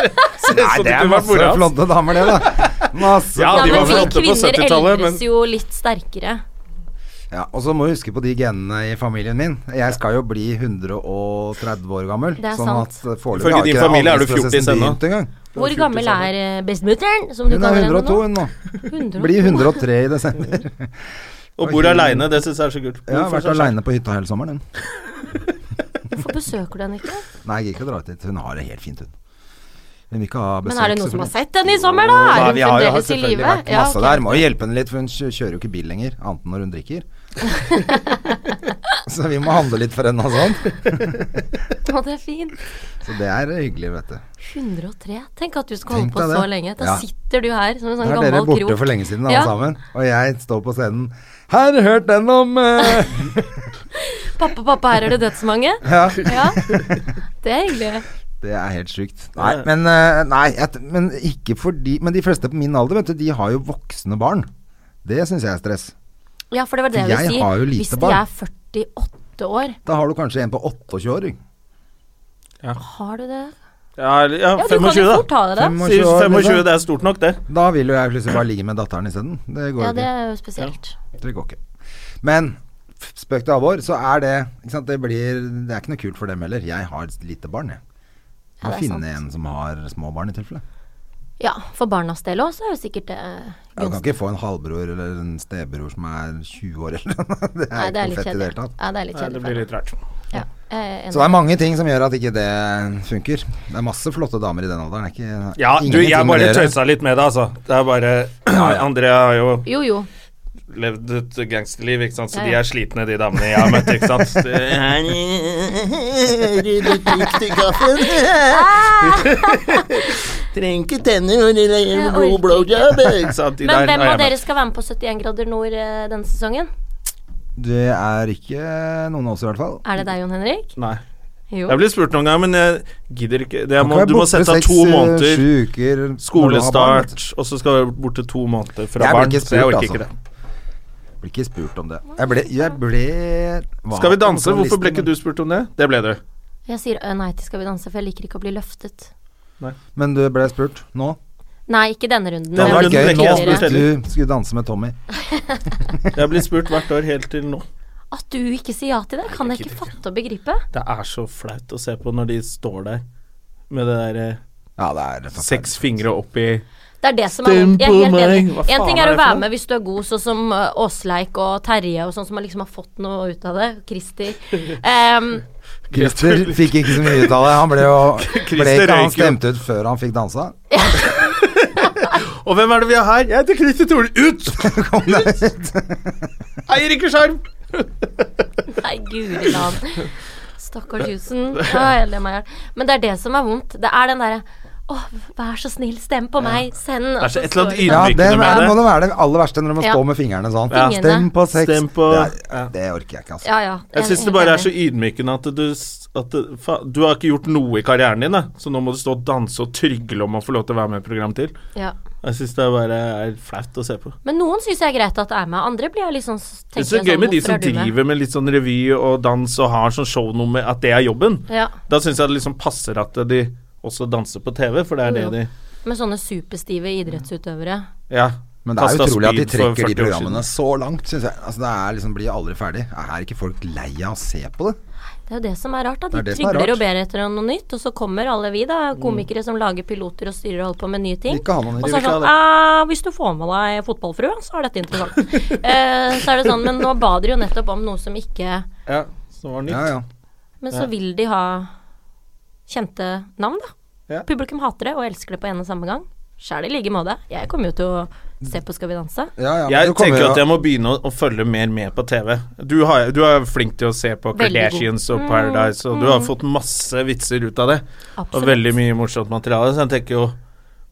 S1: se
S2: Nei,
S1: sånn
S2: det er
S1: ut til å være
S2: masse
S1: mora hans.
S2: flotte damer, det, da. Masse
S1: Ja,
S3: Ja,
S1: de
S3: men
S1: var
S3: vi
S1: flotte på
S3: kvinner
S1: 70-tallet, men-
S3: eldes jo litt sterkere.
S2: Ja, og så må du huske på de genene i familien min. Jeg skal jo bli 130 år gammel.
S3: Det er
S2: sånn
S3: sant.
S2: at eh, foreløpig
S1: Ifølge
S2: har
S1: din
S2: ikke
S1: familie er du
S2: avlingsprosessen
S1: fjortis ennå.
S2: begynt engang.
S3: Hvor gammel er eh, bestemutteren, som du
S2: Hun er
S3: kaller henne
S2: 102
S3: nå?
S2: hun nå.
S3: 102.
S2: Blir 103 i desember.
S1: Og bor aleine, det syns jeg er så kult.
S2: Jeg har
S1: Hvorfor
S2: vært
S1: så-
S2: aleine på hytta hele sommeren, hun.
S3: Hvorfor besøker du henne ikke?
S2: Nei, jeg gikk ikke å dra ut dit. Hun har det helt fint, hun. Hun vil ikke ha besøk.
S3: Men er det noen som har
S2: selvfølgelig.
S3: sett henne i sommer, da? Er
S2: Nei,
S3: hun
S2: vi har jo hatt
S3: fremdeles i
S2: selvfølgelig
S3: live?
S2: vært
S3: Ja,
S2: masse
S3: ok.
S2: der. Må jo hjelpe henne litt, for hun kjø- kjører jo ikke bil lenger. Annet enn når hun drikker. Så vi må handle litt for henne og sånn.
S3: Å, det er fint.
S2: Så det er hyggelig, vet du.
S3: 103. Tenk at du skal holde
S2: Tenk
S3: på
S2: deg
S3: så
S2: det.
S3: lenge. Da
S2: Ja.
S3: sitter du her som en sånn
S2: Da er
S3: gammel
S2: dere
S3: krok.
S2: borte for lenge siden, alle
S3: Ja.
S2: sammen. Og jeg står på scenen. Her, hørt den om eh,
S3: Pappa, pappa, her er det dødsmange.
S2: Ja.
S3: Ja. Det er hyggelig.
S2: Det er helt sjukt. Nei, men, eh, nei jeg, t- men ikke fordi Men de fleste på min alder, vet du, de har jo voksne barn. Det syns jeg er stress.
S3: Ja, for det var det jeg
S2: Jeg
S3: ville si.
S2: har jo lite
S3: Hvis de
S2: barn.
S3: er 48 år,
S2: Da har du kanskje en på 28 år. ikke?
S3: har du det?
S1: sånn? Ja, eller- ja,
S3: Ja, du kan
S1: 25,
S3: jo
S1: da.
S3: fort ha det. da.
S2: 25
S1: Sier
S2: år,
S1: 25,
S2: liksom.
S1: det er stort nok, det.
S2: Da vil jo jeg plutselig bare ligge med datteren isteden. Det går jo
S3: Ja, det
S2: ikke.
S3: er jo spesielt.
S2: Det går ikke. Men f- spøk til alvor, så er det ikke sant? Det, blir, det er ikke noe kult for dem heller. Jeg har et lite barn, jeg.
S3: Ja,
S2: Må
S3: det er
S2: finne
S3: sant.
S2: en som har små barn, i tilfelle.
S3: Ja, for barnas del òg, så er jo sikkert det eh,
S2: Ja, Du kan
S3: gunstig.
S2: ikke få en halvbror eller en stebror som er 20 år eller noe. Det er
S3: Nei, det
S2: ikke
S3: er
S2: noe
S3: litt
S2: fett i det
S3: kjedelig.
S2: hele tatt.
S3: Ja, det er litt
S1: Nei, det
S3: kjedelig.
S1: blir
S3: for
S1: litt rart.
S3: dem. Ja, jeg er enig.
S2: Så det er mange ting som gjør at ikke det funker. Det er masse flotte damer i den alderen. Det er ikke,
S1: Ja, du,
S2: ingenting
S1: jeg
S2: med
S1: bare
S2: dere.
S1: tøysa litt med det, altså. Det er bare André har jo
S3: Jo, jo.
S1: levd et gangsterliv, ikke sant, så
S3: Ja,
S1: de
S3: ja.
S1: er slitne, de damene jeg har møtt, ikke sant. Trenger ikke tenner og
S3: Ah! Jeg orker blowjob,
S1: Ikke sant, de
S3: Men hvem av dere
S1: møtt.
S3: skal være med på 71 grader nord eh, denne sesongen?
S2: Det er ikke noen av oss, i hvert fall.
S3: Er det deg, Jon Henrik?
S1: Nei.
S3: Jo.
S1: Jeg blir spurt noen ganger, men jeg gidder ikke. Det, jeg
S2: Man
S1: må,
S2: kan være
S1: du må
S2: borte
S1: sette av
S2: seks,
S1: to
S2: eh,
S1: måneder
S2: sju uker når du har barn, vet
S1: skolestart,
S2: du.
S1: og så skal du borte to måneder fra
S2: Jeg blir
S1: barn,
S2: ikke
S1: så jeg
S2: spurt,
S1: orker ikke
S2: altså.
S1: det.
S2: Blir ikke spurt om det. Jeg ble, jeg ble hva?
S1: Skal vi danse?
S2: På listen,
S1: Hvorfor ble ikke du spurt om det? Det ble du.
S3: Jeg sier «Ø, nei til Skal vi danse, for jeg liker ikke å bli løftet.
S2: Men du ble spurt nå?
S3: Nei, ikke denne runden.
S2: Det
S1: Denne
S3: men
S2: var
S1: runden
S2: gøy
S1: ble
S2: nå
S1: ikke jeg
S3: tidligere.
S1: spurt
S2: hvis
S1: heller.
S2: du skulle danse med Tommy.
S1: Jeg blir spurt hvert år helt til nå.
S3: At du ikke sier ja til det, kan jeg ikke fatte og begripe.
S1: Det er så flaut å se på når de står der med det derre
S2: Ja, det er forferdelig.
S1: seks fingre opp i
S3: Det er det som er
S1: Stem
S3: vondt. Jeg er
S1: på
S3: helt enig.
S1: meg. Hva
S3: En
S1: faen
S3: ting
S1: er
S3: er å
S1: det for
S3: være
S1: noe?
S3: med hvis du er god, sånn som ø, Åsleik og Terje og sånn som liksom har fått noe ut av det. Christer. Em,
S2: Christer fikk ikke så mye ut av det. Han ble jo ble ikke,
S1: Christer
S2: Han
S1: røyk jo.
S2: stemte ut før han fikk dansa.
S1: Og hvem er det vi har her? Jeg heter Christer Thorne. Ut! Eier ikke skjerm!
S3: nei, guri land. Stakkars Jusen. Ja, jeg ler meg i hjel. Men det er det som er vondt. Det er den derre Å, vær så snill, stem på meg. Send.
S1: Det er så et eller annet
S2: Ja,
S1: ydmykende
S2: det er,
S1: med
S2: må
S1: det.
S2: det være det aller verste når du må
S3: Ja.
S2: stå med fingrene sånn.
S3: Ja.
S2: Stem på seks.
S1: Stem på-
S2: det, er,
S1: Ja.
S2: det orker jeg ikke, altså.
S3: Ja, ja.
S1: Jeg syns det bare er så ydmykende at du s- at det, fa, Du har ikke gjort noe i karrieren din, da. så nå må du stå og danse og trygle om å få lov til å være med i et program til.
S3: ja.
S1: Jeg syns det bare er flaut å se på.
S3: Men noen syns jeg er greit at det er med, andre blir jeg litt sånn s-
S1: Det er
S3: tenker
S1: så
S3: jeg
S1: gøy
S3: sånn,
S1: med de
S3: hvorfor
S1: som
S3: er du med?
S1: driver med litt sånn revy og dans og har sånn shownummer, at det er jobben.
S3: Ja.
S1: Da syns jeg det liksom passer at de også danser på TV, for det er det
S3: Jo, jo.
S1: de
S3: Med sånne superstive idrettsutøvere.
S1: Ja.
S2: Men det er
S1: Kasta
S2: utrolig at de
S1: speed for
S2: trekker de
S1: 40 år siden.
S2: programmene så langt, syns jeg. Altså, det er liksom, blir aldri ferdig. Er ikke folk lei av å se på det?
S3: Det er jo det som er rart, da.
S2: Det er
S3: De
S2: det som er rart. Mm.
S3: trygler og ber etter noe nytt, og så kommer alle vi, da. Komikere som lager piloter og styrer og holder på med nye ting.
S2: Vil ikke ha noe nytt.
S3: og så er det
S1: Vil ikke
S3: sånn «Eh, Hvis du får med deg fotballfrua, så er dette interessant. eh, så er det sånn, men nå ba dere jo nettopp om noe som ikke
S1: Ja, som var nytt.
S2: Ja, ja.
S3: Men så vil de ha kjente navn, da.
S1: Ja.
S3: Publikum hater det og elsker det på en og samme gang. Sjæl i like måte. Jeg kommer jo til å se på Skal vi danse.
S2: ja, ja men
S1: Jeg
S2: du kommer
S1: tenker
S2: jo-
S1: at jeg må begynne å, å følge mer med på TV. Du, har, du er flink til å se på
S3: Veldig god. Mm.
S1: Kardashians og Paradise, og du har fått masse vitser ut av det. Og
S3: Absolutt.
S1: veldig mye morsomt materiale, så jeg tenker jo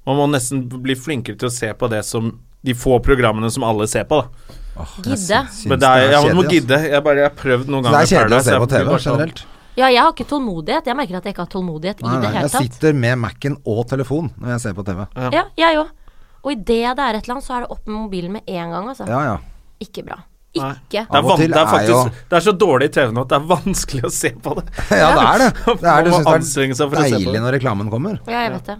S1: Man må nesten bli flinkere til å se på det som de få programmene som alle ser på, da.
S3: Gidde.
S2: Syns
S1: Men det er, ja, man må
S2: kjedelig, altså.
S1: gidde. Jeg, bare, jeg har prøvd
S2: Så
S1: noen
S2: det
S1: ganger
S2: er kjedelig å se på
S1: Paradise, jeg
S2: TV
S1: blir bare sånn-
S2: generelt.
S3: Ja, jeg har ikke tålmodighet. Jeg merker at jeg ikke har tålmodighet
S2: Nei,
S3: i det
S2: nei,
S3: hele
S2: jeg
S3: tatt.
S2: sitter med Mac-en og telefon når jeg ser på TV.
S3: Ja, jeg òg. Og idet det er et eller annet, så er det opp med mobilen med en gang, altså.
S2: Ja, ja.
S3: Ikke bra.
S1: Nei.
S3: Ikke.
S1: Det er,
S2: Av og
S1: van,
S2: til
S1: det, er
S2: er jo-
S1: faktisk, det er så dårlig TV nå at det er vanskelig å se på det.
S2: Ja, det er det. det, er,
S1: Man
S2: du
S1: må
S2: synes det
S1: anstrenge seg for å
S2: er
S1: se på
S2: deilig
S1: det.
S2: når reklamen kommer.
S3: Ja, jeg vet det.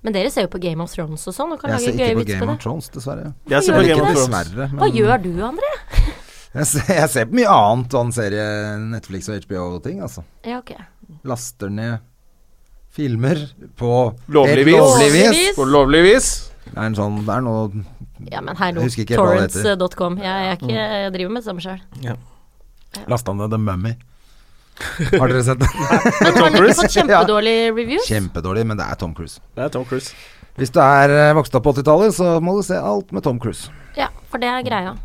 S3: Men dere ser jo på Game of Thrones og sånn, og kan
S2: Jeg
S3: lage
S2: ser
S3: gøye
S2: ikke på
S3: vitser
S2: Game
S3: på
S2: of
S3: det.
S2: Thrones, dessverre.
S1: Jeg ser
S3: Gjør
S1: på
S3: det
S1: Game
S3: ikke
S1: of
S3: det?
S1: Thrones.
S2: Dessverre,
S3: Hva
S2: men
S3: gjør du, André?
S2: jeg ser, jeg ser på mye annet sånn serie, Netflix og HBO-ting, altså.
S3: Ja, ok.
S2: Laster ned filmer på
S1: Lovlig
S2: helt
S1: vis.
S2: lovlig vis.
S3: Lovlig vis.
S1: På lovlig vis.
S2: Det er en sånn Det er noe
S3: Ja, men hallo.
S2: Jeg husker ikke helt hva det heter.
S3: Torrents.com. Jeg, jeg, er ikke- jeg driver med det samme sjøl.
S2: Lasta ned The Mummy. Har dere sett den?
S3: Men har den ikke fått
S2: Ja.
S3: kjempedårlig reviews?
S2: Kjempedårlig, men det er Tom Cruise.
S1: Det er Tom Cruise.
S2: Hvis du er eh, vokst opp på 80-tallet, så må du se alt med Tom Cruise.
S3: Ja, for det er greia.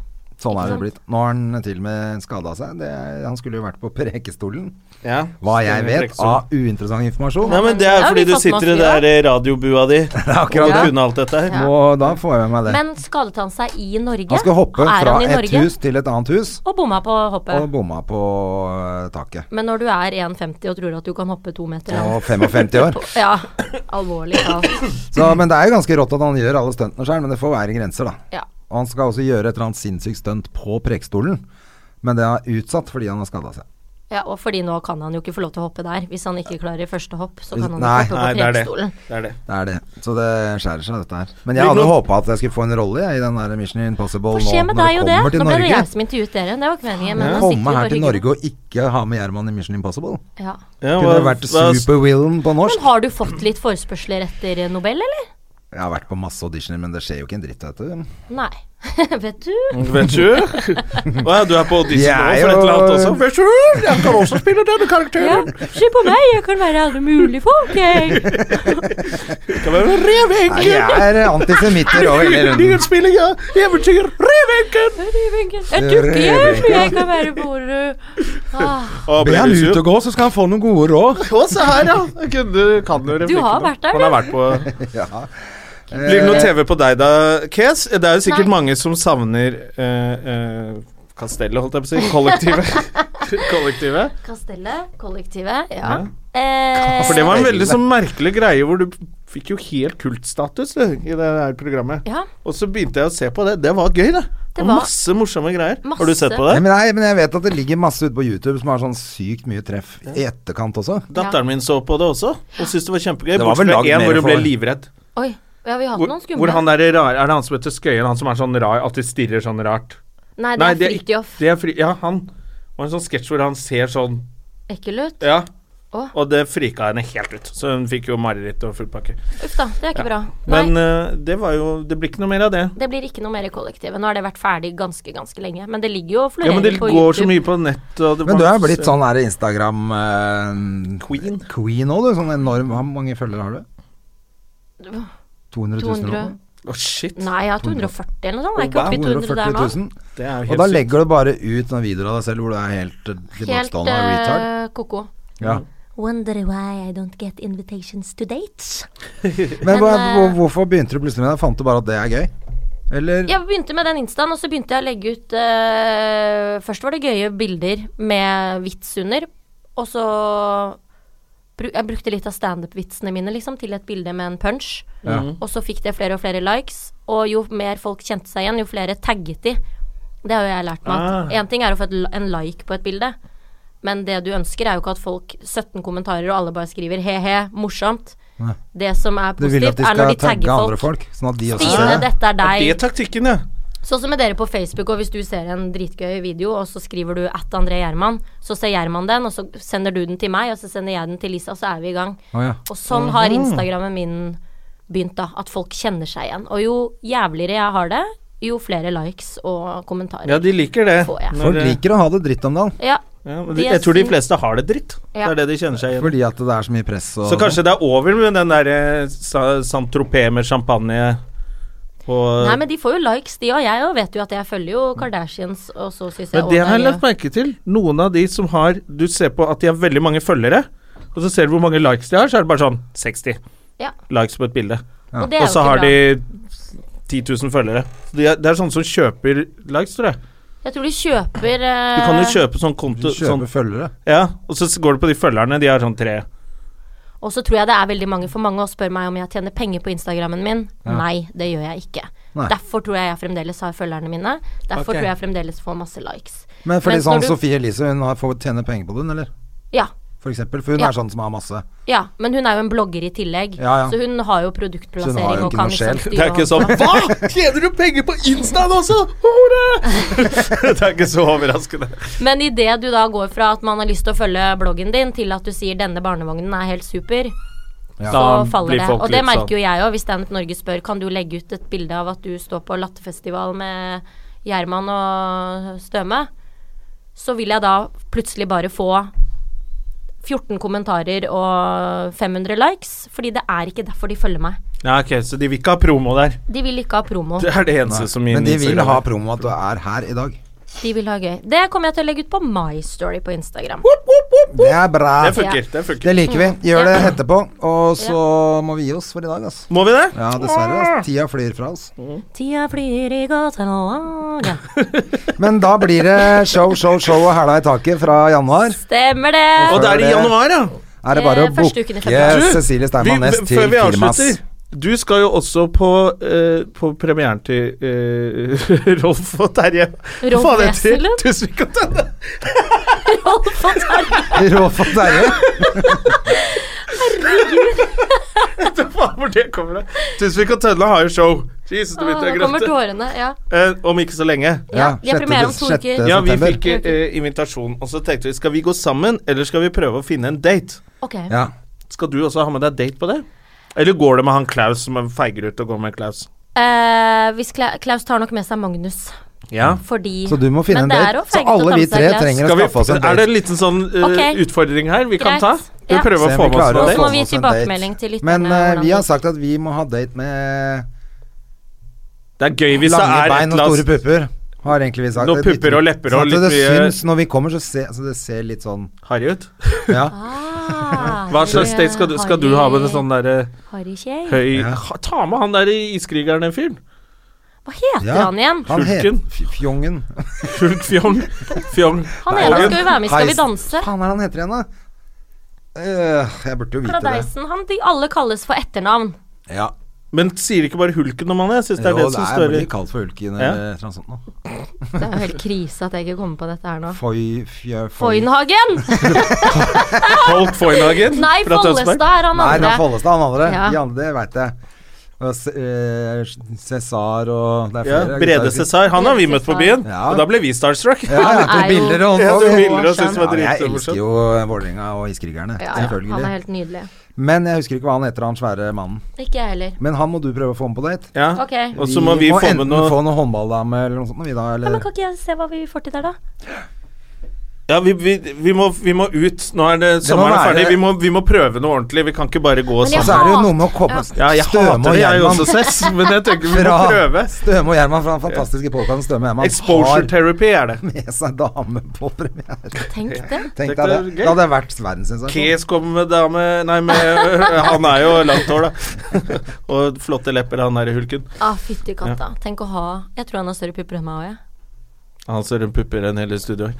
S2: Sånn er det
S3: sant?
S2: blitt. Nå har han til og med skada seg. Det, er- han skulle jo vært på Prekestolen.
S1: Ja.
S2: Hva jeg vet ah. av uinteressant informasjon.
S1: Nei, men Det
S3: Ja,
S1: er
S3: vi
S1: fordi du
S3: fått
S1: sitter i
S3: masse,
S1: det
S3: ja.
S1: der eh, radiobua di og
S2: akkurat det.
S1: kunne alt dette her.
S3: Ja.
S2: Og da får jeg med meg det.
S3: Men skadet han seg i Norge?
S2: Han skal hoppe
S3: Er han
S2: fra
S3: i
S2: et
S3: Norge?
S2: hus til et annet hus,
S3: Og bomma på
S2: og
S3: hoppet.
S2: bomma på eh, taket.
S3: Men når du er 1,50 og tror at du kan hoppe to meter
S2: Og 55 år.
S3: Ja, alvorlig talt.
S2: Så, men det er jo ganske rått at han gjør alle stuntene sjøl, men det får være grenser, da.
S3: Ja.
S2: Og han skal også gjøre et eller annet sinnssykt stunt på Prekestolen, men det er utsatt fordi han har skada seg.
S3: Ja, og fordi nå kan han jo ikke få lov til å hoppe der. Hvis han ikke klarer første hopp, så kan han
S2: Nei,
S3: ikke hoppe
S1: Nei,
S3: på
S1: det er det.
S3: prekestolen.
S1: det er det.
S2: Det er det. Så det skjærer seg, dette her. Men jeg
S1: Blir
S2: hadde
S1: det noe-
S2: håpa at jeg skulle få en rolle jeg, i den der Mission Impossible
S3: Hva skjer med
S2: når
S3: deg
S2: det
S3: og det?
S2: kommer til
S3: Nå ble det
S2: Norge.
S3: jeg som intervjuet dere. Det var ikke meningen. Men nå
S2: Å
S3: sitter
S2: komme
S3: vi
S2: her
S3: på
S2: til
S3: ryggen.
S2: Norge og ikke ha med Gjerman i Mission Impossible.
S3: Ja.
S2: Kunne
S1: Ja,
S2: det
S1: hva-
S2: vært
S1: hva-
S2: Superwillen på norsk.
S3: Men har du fått litt forespørsler etter Nobel, eller?
S2: Jeg har vært på masse auditioner, men det skjer jo ikke en dritt, vet du.
S3: Nei. Vet du?
S1: Vet du? Å ja, du er på audition
S2: Jeg er
S1: nå for et
S2: jo-
S1: eller annet også? Vet du? Jeg kan også spille denne
S3: Ja,
S1: karakteren.
S3: se på meg, jeg kan være alle mulige folk, jeg.
S1: Kan være
S2: Nei,
S1: Revenken!
S2: jeg er antisemitter over hele runden.
S1: Ingen spiller jeg! Eventyr! Revenken!
S3: Jeg dukker, jeg, men jeg kan være hvor du ah,
S1: Å, ble du sur?
S2: og gå, så skal han få noen gode råd.
S1: Å, se her, ja. Jeg kunne, kan jo replikkene.
S3: har vært der,
S1: Han har
S3: du.
S1: vært på
S2: Ja.
S1: Blir det noe TV på deg da, Kes? Det er jo sikkert
S3: Nei.
S1: mange som savner eh, eh, Kastellet, holdt jeg på å si. Kollektivet. Kollektivet.
S3: Kastellet, kollektivet, ja. Eh,
S1: For det var en veldig sånn merkelig greie hvor du Fikk jo helt kultstatus du, i det her programmet.
S3: Ja,
S1: Og så begynte jeg å se på det. Det var gøy, det.
S3: Det
S1: Og
S3: var-
S1: masse morsomme greier. Har du
S3: Masse.
S1: sett på
S2: Nei,
S1: det?
S2: men, nei, men jeg vet at det ligger masse ute på YouTube som har sånn sykt mye treff i etterkant også.
S1: Datteren min så på det også, og syntes det var kjempegøy.
S2: Det var vel
S1: Bortsett
S2: lagd
S1: fra én
S2: mer
S1: hvor hun ble
S2: for-
S1: livredd.
S3: oi. Ja, vi har hatt
S1: Hvor,
S3: noen skumle.
S1: hvor han der er rar, Er det han som heter Skøyen, han som er sånn rar, alltid stirrer sånn rart?
S3: Nei, det
S1: Nei,
S3: er
S1: det er ikke-
S3: Fridtjof
S1: Det er fri, ja, han var en sånn sketsj hvor han ser sånn
S3: Ekkelut.
S1: Ja.
S3: Å.
S1: Og det frika henne helt ut. Så hun fikk jo mareritt og full pakke.
S3: Uff da, det er ikke bra. Nei,
S1: Men eh, det var jo Det blir ikke noe mer av det.
S3: det blir ikke noe mer i kollektivet. Nå har det vært ferdig ganske, ganske lenge. Men det ligger jo og
S1: Ja,
S3: florerer
S1: men det
S3: på
S1: går
S3: YouTube.
S1: så mye på nett og det
S2: Men du er
S1: masse-
S2: blitt sånn her Instagram eh,
S1: eh, Queen.
S2: Queen òg, du. Sånn enorm Hvor mange følgere har du? 200 000?
S3: 200
S2: eller noe?
S1: Å, shit.
S3: Nei, jeg har 240 eller noe sånt. Jeg er ikke oppe i 200 der
S2: 240
S3: nå.
S2: 000.
S1: Det er jo
S2: Og
S1: helt
S2: da
S1: sykt.
S2: legger du bare ut noen videoer av deg selv hvor du er helt eh,
S3: Helt
S2: tilbakestående og retard.
S3: eh, ko-ko.
S2: Ja.
S3: Wonder why I don't get invitations to dates.
S2: Men hva,
S3: eh,
S2: hvor- hvorfor begynte du plutselig med det? Fant du bare at det er gøy? Eller
S3: Jeg begynte med den instaen, og så begynte jeg å legge ut eh, Først var det gøye bilder med vits under, og så bru- Jeg brukte litt av standup-vitsene mine liksom, til et bilde med en punch.
S2: Ja.
S1: Mm.
S3: Og så fikk det flere og flere likes, og jo mer folk kjente seg igjen, jo flere tagget de. Det har jo jeg lært meg.
S1: Ah.
S3: at Én ting er å få et, li- en like på et bilde, men det du ønsker, er jo ikke at folk 17 kommentarer, og alle bare skriver he-he, morsomt.
S2: Nei.
S3: Det som er
S2: du vil at
S3: positivt,
S2: de
S3: er når
S2: skal
S3: de
S2: tagge
S3: tagger
S2: andre
S3: folk.
S2: folk? Sånn at de også
S3: Stine,
S2: ser det?
S3: dette er
S1: Ja,
S3: deg.
S1: Det er taktikken, ja.
S3: Sånn som med dere på Facebook, og hvis du ser en dritgøy video, og så skriver du at André Gjerman, så ser Gjerman den, og så sender du den til meg, og så sender jeg den til Lisa, og så er vi i gang.
S2: Å, ja.
S3: Og sånn har Instagrammen min begynt, da. At folk kjenner seg igjen. Og jo jævligere jeg har det, jo flere likes og kommentarer.
S1: Ja, de liker det.
S3: Får jeg.
S1: Når
S2: Folk
S1: det-
S2: liker å ha det dritt om dagen.
S3: Ja.
S1: ja,
S3: De
S1: men de,
S3: er
S1: Jeg tror de
S3: sin-
S1: fleste har det dritt. Det
S3: Ja.
S1: er det de kjenner seg igjen.
S2: Fordi at det er så mye press og
S1: Så kanskje det er over med den der eh, Sa- Saint-Tropez med champagne og
S3: Nei, men de får jo likes, de og jeg òg vet jo at jeg følger jo Kardashians, og så syns jeg
S1: Men
S3: også
S1: det har jeg
S3: er
S1: lagt merke til. Noen av de som har Du ser på at de har veldig mange følgere, og så ser du hvor mange likes de har, så er det bare sånn 60
S3: Ja.
S1: likes på et bilde.
S3: Og det er
S1: Og
S3: jo
S1: så
S3: ikke
S1: har
S3: bra.
S1: de 10 000 følgere. Så de er, det er sånne som kjøper likes, tror jeg.
S3: Jeg tror de kjøper eh,
S1: Du kan jo kjøpe sånn konto
S2: du kjøper
S1: sånn,
S2: følgere.
S1: Ja, og så s- går du på de følgerne, de har sånn tre.
S3: Og så tror jeg det er veldig mange for mange å spørre meg om jeg tjener penger på Instagrammen min. Nei, det gjør jeg ikke.
S2: Nei.
S3: Derfor tror jeg jeg fremdeles har følgerne mine. Derfor
S1: Ok.
S3: tror jeg fremdeles får masse likes.
S2: Men fordi
S3: Mens når
S2: sånn
S3: du-
S2: Sofie Elise, hun har, får tjene penger på den, eller?
S3: Ja.
S2: For eksempel. For hun
S3: Ja.
S2: er sånn som har masse.
S3: Ja, men hun er jo en blogger i tillegg,
S2: Ja, ja.
S3: så hun har jo
S2: Så hun har
S3: produktplassering
S2: jo
S3: og
S2: ikke
S3: kan
S2: noe
S3: liksom
S2: sjel.
S3: styre
S1: Det er ikke sånn
S3: alt.
S1: Hva?! Tjener du penger på Instaen også?! Hore! det er ikke så overraskende.
S3: Men idet du da går fra at man har lyst til å følge bloggen din, til at du sier 'denne barnevognen er helt super', så faller det. Og det
S1: sånn.
S3: merker jo jeg òg, hvis Standup Norge spør kan du legge ut et bilde av at du står på Latterfestival med Gjerman og Støme, så vil jeg da plutselig bare få 14 kommentarer og 500 likes, fordi det er ikke derfor de følger meg.
S1: Ja, ok, Så de vil ikke ha promo der.
S3: De vil ikke ha promo.
S1: Det er det eneste som
S2: Men de vil
S1: Instagram-
S2: ha promo at du er her i dag.
S3: De vil ha gøy. Det kommer jeg til å legge ut på My Story på Instagram.
S2: Det er bra.
S1: Det funker. Det funker.
S2: Det liker vi. Gjør det
S3: Ja.
S2: etterpå. Og så må vi gi oss for i dag, ass.
S1: Må vi det?
S2: Ja, dessverre. Ass. Tida flyr fra oss.
S3: Tida flyr i gatelangen.
S2: Men da blir det show, show, show og hæla i taket fra januar.
S3: Stemmer det!
S1: Og det er i
S2: det-
S1: januar, ja.
S2: Er det bare
S3: Eh,
S2: å
S3: første uken i
S2: booke
S3: februar.
S1: Du,
S2: Cecilie Steinmann
S1: vi-
S2: Næss
S1: før
S2: til
S1: vi
S2: firmas
S1: avslutter, Du skal jo også på, eh, på premieren til eh, Rolf og Terje. Hva
S3: Rolf
S1: faen heter de?
S3: Wesenlund?
S1: Tusvik og Tønne.
S3: Rolf og Terje.
S2: Råfott Terje.
S1: Vet du faen hvor det kommer fra? Tusvik og Tønne har jo show. Jesus, nå begynte
S3: Nå
S1: jeg å
S3: kommer
S1: gråte.
S3: tårene. Ja.
S1: Eh, om ikke så lenge.
S3: Ja, de har premiere om to uker.
S1: Ja, vi
S2: september.
S1: fikk eh, invitasjon, og så tenkte vi skal vi gå sammen, eller skal vi prøve å finne en date?
S3: Ok.
S2: Ja.
S1: Skal du også ha med deg date på det? Eller går det med han Klaus som feiger ut og går med Klaus?
S3: Eh, hvis Kla Klaus tar nok med seg Magnus,
S1: Ja.
S3: fordi
S2: Så du må finne
S3: Men
S2: en
S3: det er
S2: date.
S3: å
S2: Så
S3: feigt å
S2: alle
S3: ta
S2: vi
S3: med seg
S2: tre
S3: glass.
S2: trenger å
S1: Skal vi,
S2: skaffe oss en
S1: er det
S2: date.
S1: en liten sånn eh,
S3: Ok.
S1: utfordring her vi kan
S3: Greit.
S1: ta? Skal vi
S3: Ja.
S1: prøve
S2: Se
S1: å
S2: om
S1: få
S2: vi
S1: med oss
S2: klarer å
S1: noe
S3: Da
S2: få
S3: må
S1: date?
S3: vi
S2: med oss en
S3: tilbakemelding
S2: date.
S3: til lytterne
S2: Men eh,
S3: hvordan
S2: vi har
S3: det-
S2: sagt at vi må ha date med
S1: Det er gøy hvis det
S2: Lange
S1: er et
S2: bein og
S1: eller annet-
S2: store pupper. Har egentlig vi sagt
S1: Noen
S2: Det er litt-
S1: pupper og lepper
S2: sånn
S1: og
S2: at
S1: litt
S2: det
S1: mye-
S2: syns når vi kommer, så ser så det ser litt sånn
S1: Harry ut.
S2: Ja.
S3: ah,
S1: Hva slags date skal du, skal du ha med en sånn derre
S3: Harry Kjei?
S1: høy
S2: Ja.
S1: Ha- Ta med han der i iskrigeren-fyren.
S3: Hva heter
S2: Ja.
S3: han igjen?
S2: Han het
S1: Hulken.
S2: F- Fjongen.
S1: Hulk Fjong. Fjong.
S3: Han
S1: Nei,
S3: ene
S1: Hagen.
S3: skal jo være med i Skal vi
S2: Heisen.
S3: danse.
S2: Faen, hva er det han heter igjen, da? Eh, jeg burde jo vite det.
S3: Paradeisen. Han de alle kalles for etternavn.
S2: Ja.
S1: Men sier ikke bare hulken om han er? Jeg synes det er
S2: Jo,
S1: det som
S2: jeg
S1: står i
S2: blir kalt for Hulken
S1: Ja.
S2: eller noe sånt. nå.
S3: Det er jo helt krise at jeg ikke kommer på dette her nå.
S2: Foy... fjø- foy-
S3: Foynhagen!
S1: Folk Foynhagen
S3: Nei,
S1: fra Tønsberg.
S3: Follestad er han
S2: Nei, det
S3: andre.
S2: er Follestad, han andre.
S3: Ja.
S2: De andre, det veit jeg. Og C- eh, Cæsar og det er
S1: Ja,
S2: flere.
S1: Brede Cæsar. Han har vi møtt på byen,
S2: Ja.
S1: og da ble vi starstruck.
S2: Ja, jeg
S3: Han
S2: tok
S3: er jo-
S2: bilder og
S1: Jeg
S2: og-
S1: tok bilder og syntes det
S2: Ja,
S1: var
S2: men Jeg
S1: dritmorsomt.
S2: elsker jo eh, Vålerenga og Iskrigerne.
S3: Ja, ja, han er
S2: selvfølgelig.
S3: helt nydelig.
S2: Men jeg husker ikke hva han heter, han svære mannen.
S3: Ikke jeg heller.
S2: Men han må du prøve å få med på date.
S1: Ja.
S3: Ok.
S1: Og så må vi få med
S2: enten
S1: noe
S2: få noen håndballdame eller noe sånt. Vi da,
S3: Ja,
S2: eller,
S3: men kan ikke jeg se hva vi får til der, da?
S1: Ja, vi, vi, vi, må, vi må ut. Nå er det sommeren er
S2: være-
S1: ferdig. Vi må, vi må prøve noe ordentlig. Vi kan ikke bare gå og
S3: Men jeg
S2: og
S1: sånn.
S2: så er det jo
S3: hat-
S2: noe med å komme
S3: Ja.
S1: Ja, jeg hater det, jeg også, Cess, men jeg tenker vi må
S2: Fra-
S1: prøve.
S2: Støme og Gjerman fra den fantastiske podkasten Støme og Gjerman
S1: Exposure
S2: har
S1: therapy er det.
S2: med seg dame på premiere.
S3: Tenk det.
S2: Tenk
S1: Tenk
S2: deg det.
S1: det er gøy.
S2: Det hadde vært verdenssensasjon.
S1: Kes kommer med dame Nei, med, han er jo langt hår, da. Og flotte lepper, han der i hulken.
S3: Ah, fytti katta. Tenk å ha Jeg tror han har større pupper enn meg òg, jeg.
S1: Han ser en pupper enn hele studioet.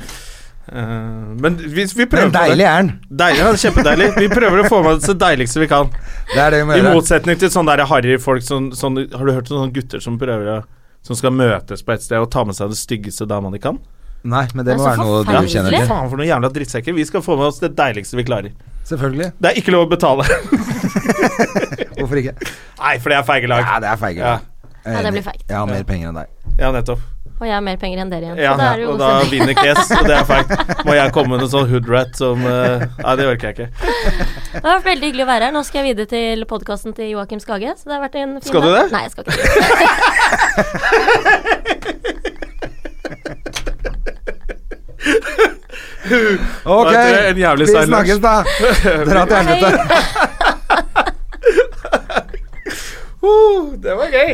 S1: Eh, men vi, vi
S2: Men
S1: prøver
S2: deilig er den.
S1: det. Deilig, han er kjempedeilig. Vi prøver å få med det så deiligste vi kan.
S2: Det er det vi må
S1: I
S2: gjøre.
S1: motsetning til sånne der harry folk som, sånn, Har du hørt om sånne gutter som prøver å Som skal møtes på et sted og ta med seg den styggeste dama de kan?
S2: Nei, men det
S3: Det er
S2: må
S3: så
S2: være noe du
S3: forferdelig.
S2: kjenner til.
S1: Faen for noen jævla drittsekker. Vi skal få med oss det deiligste vi klarer.
S2: Selvfølgelig.
S1: Det er ikke lov å betale.
S2: Hvorfor ikke?
S1: Nei, for det er feige lag.
S2: Ja, det er feige. Jeg
S1: Ja.
S2: er
S3: Ja, det
S2: enig.
S3: blir feigt.
S2: Jeg har mer penger enn deg.
S1: Ja, nettopp.
S3: Og jeg har mer penger enn dere igjen.
S1: Ja,
S3: så da er det jo god
S1: og da
S3: stemning.
S1: vinner Kes, og det er feigt. Må jeg komme med en sånn hoodrat som eh, Nei, det orker jeg ikke.
S3: Det har vært veldig hyggelig å være her. Nå skal jeg videre til podkasten til Joakim Skage. Så det har vært en fin
S1: Skal du
S3: dag.
S1: det?
S3: Nei, jeg skal ikke.
S2: Ok,
S1: Vet dere, en jævlig
S2: vi
S1: Stein Lars.
S2: snakkes da. Dra til helvete.
S3: Hei.
S1: Uh, det var gøy.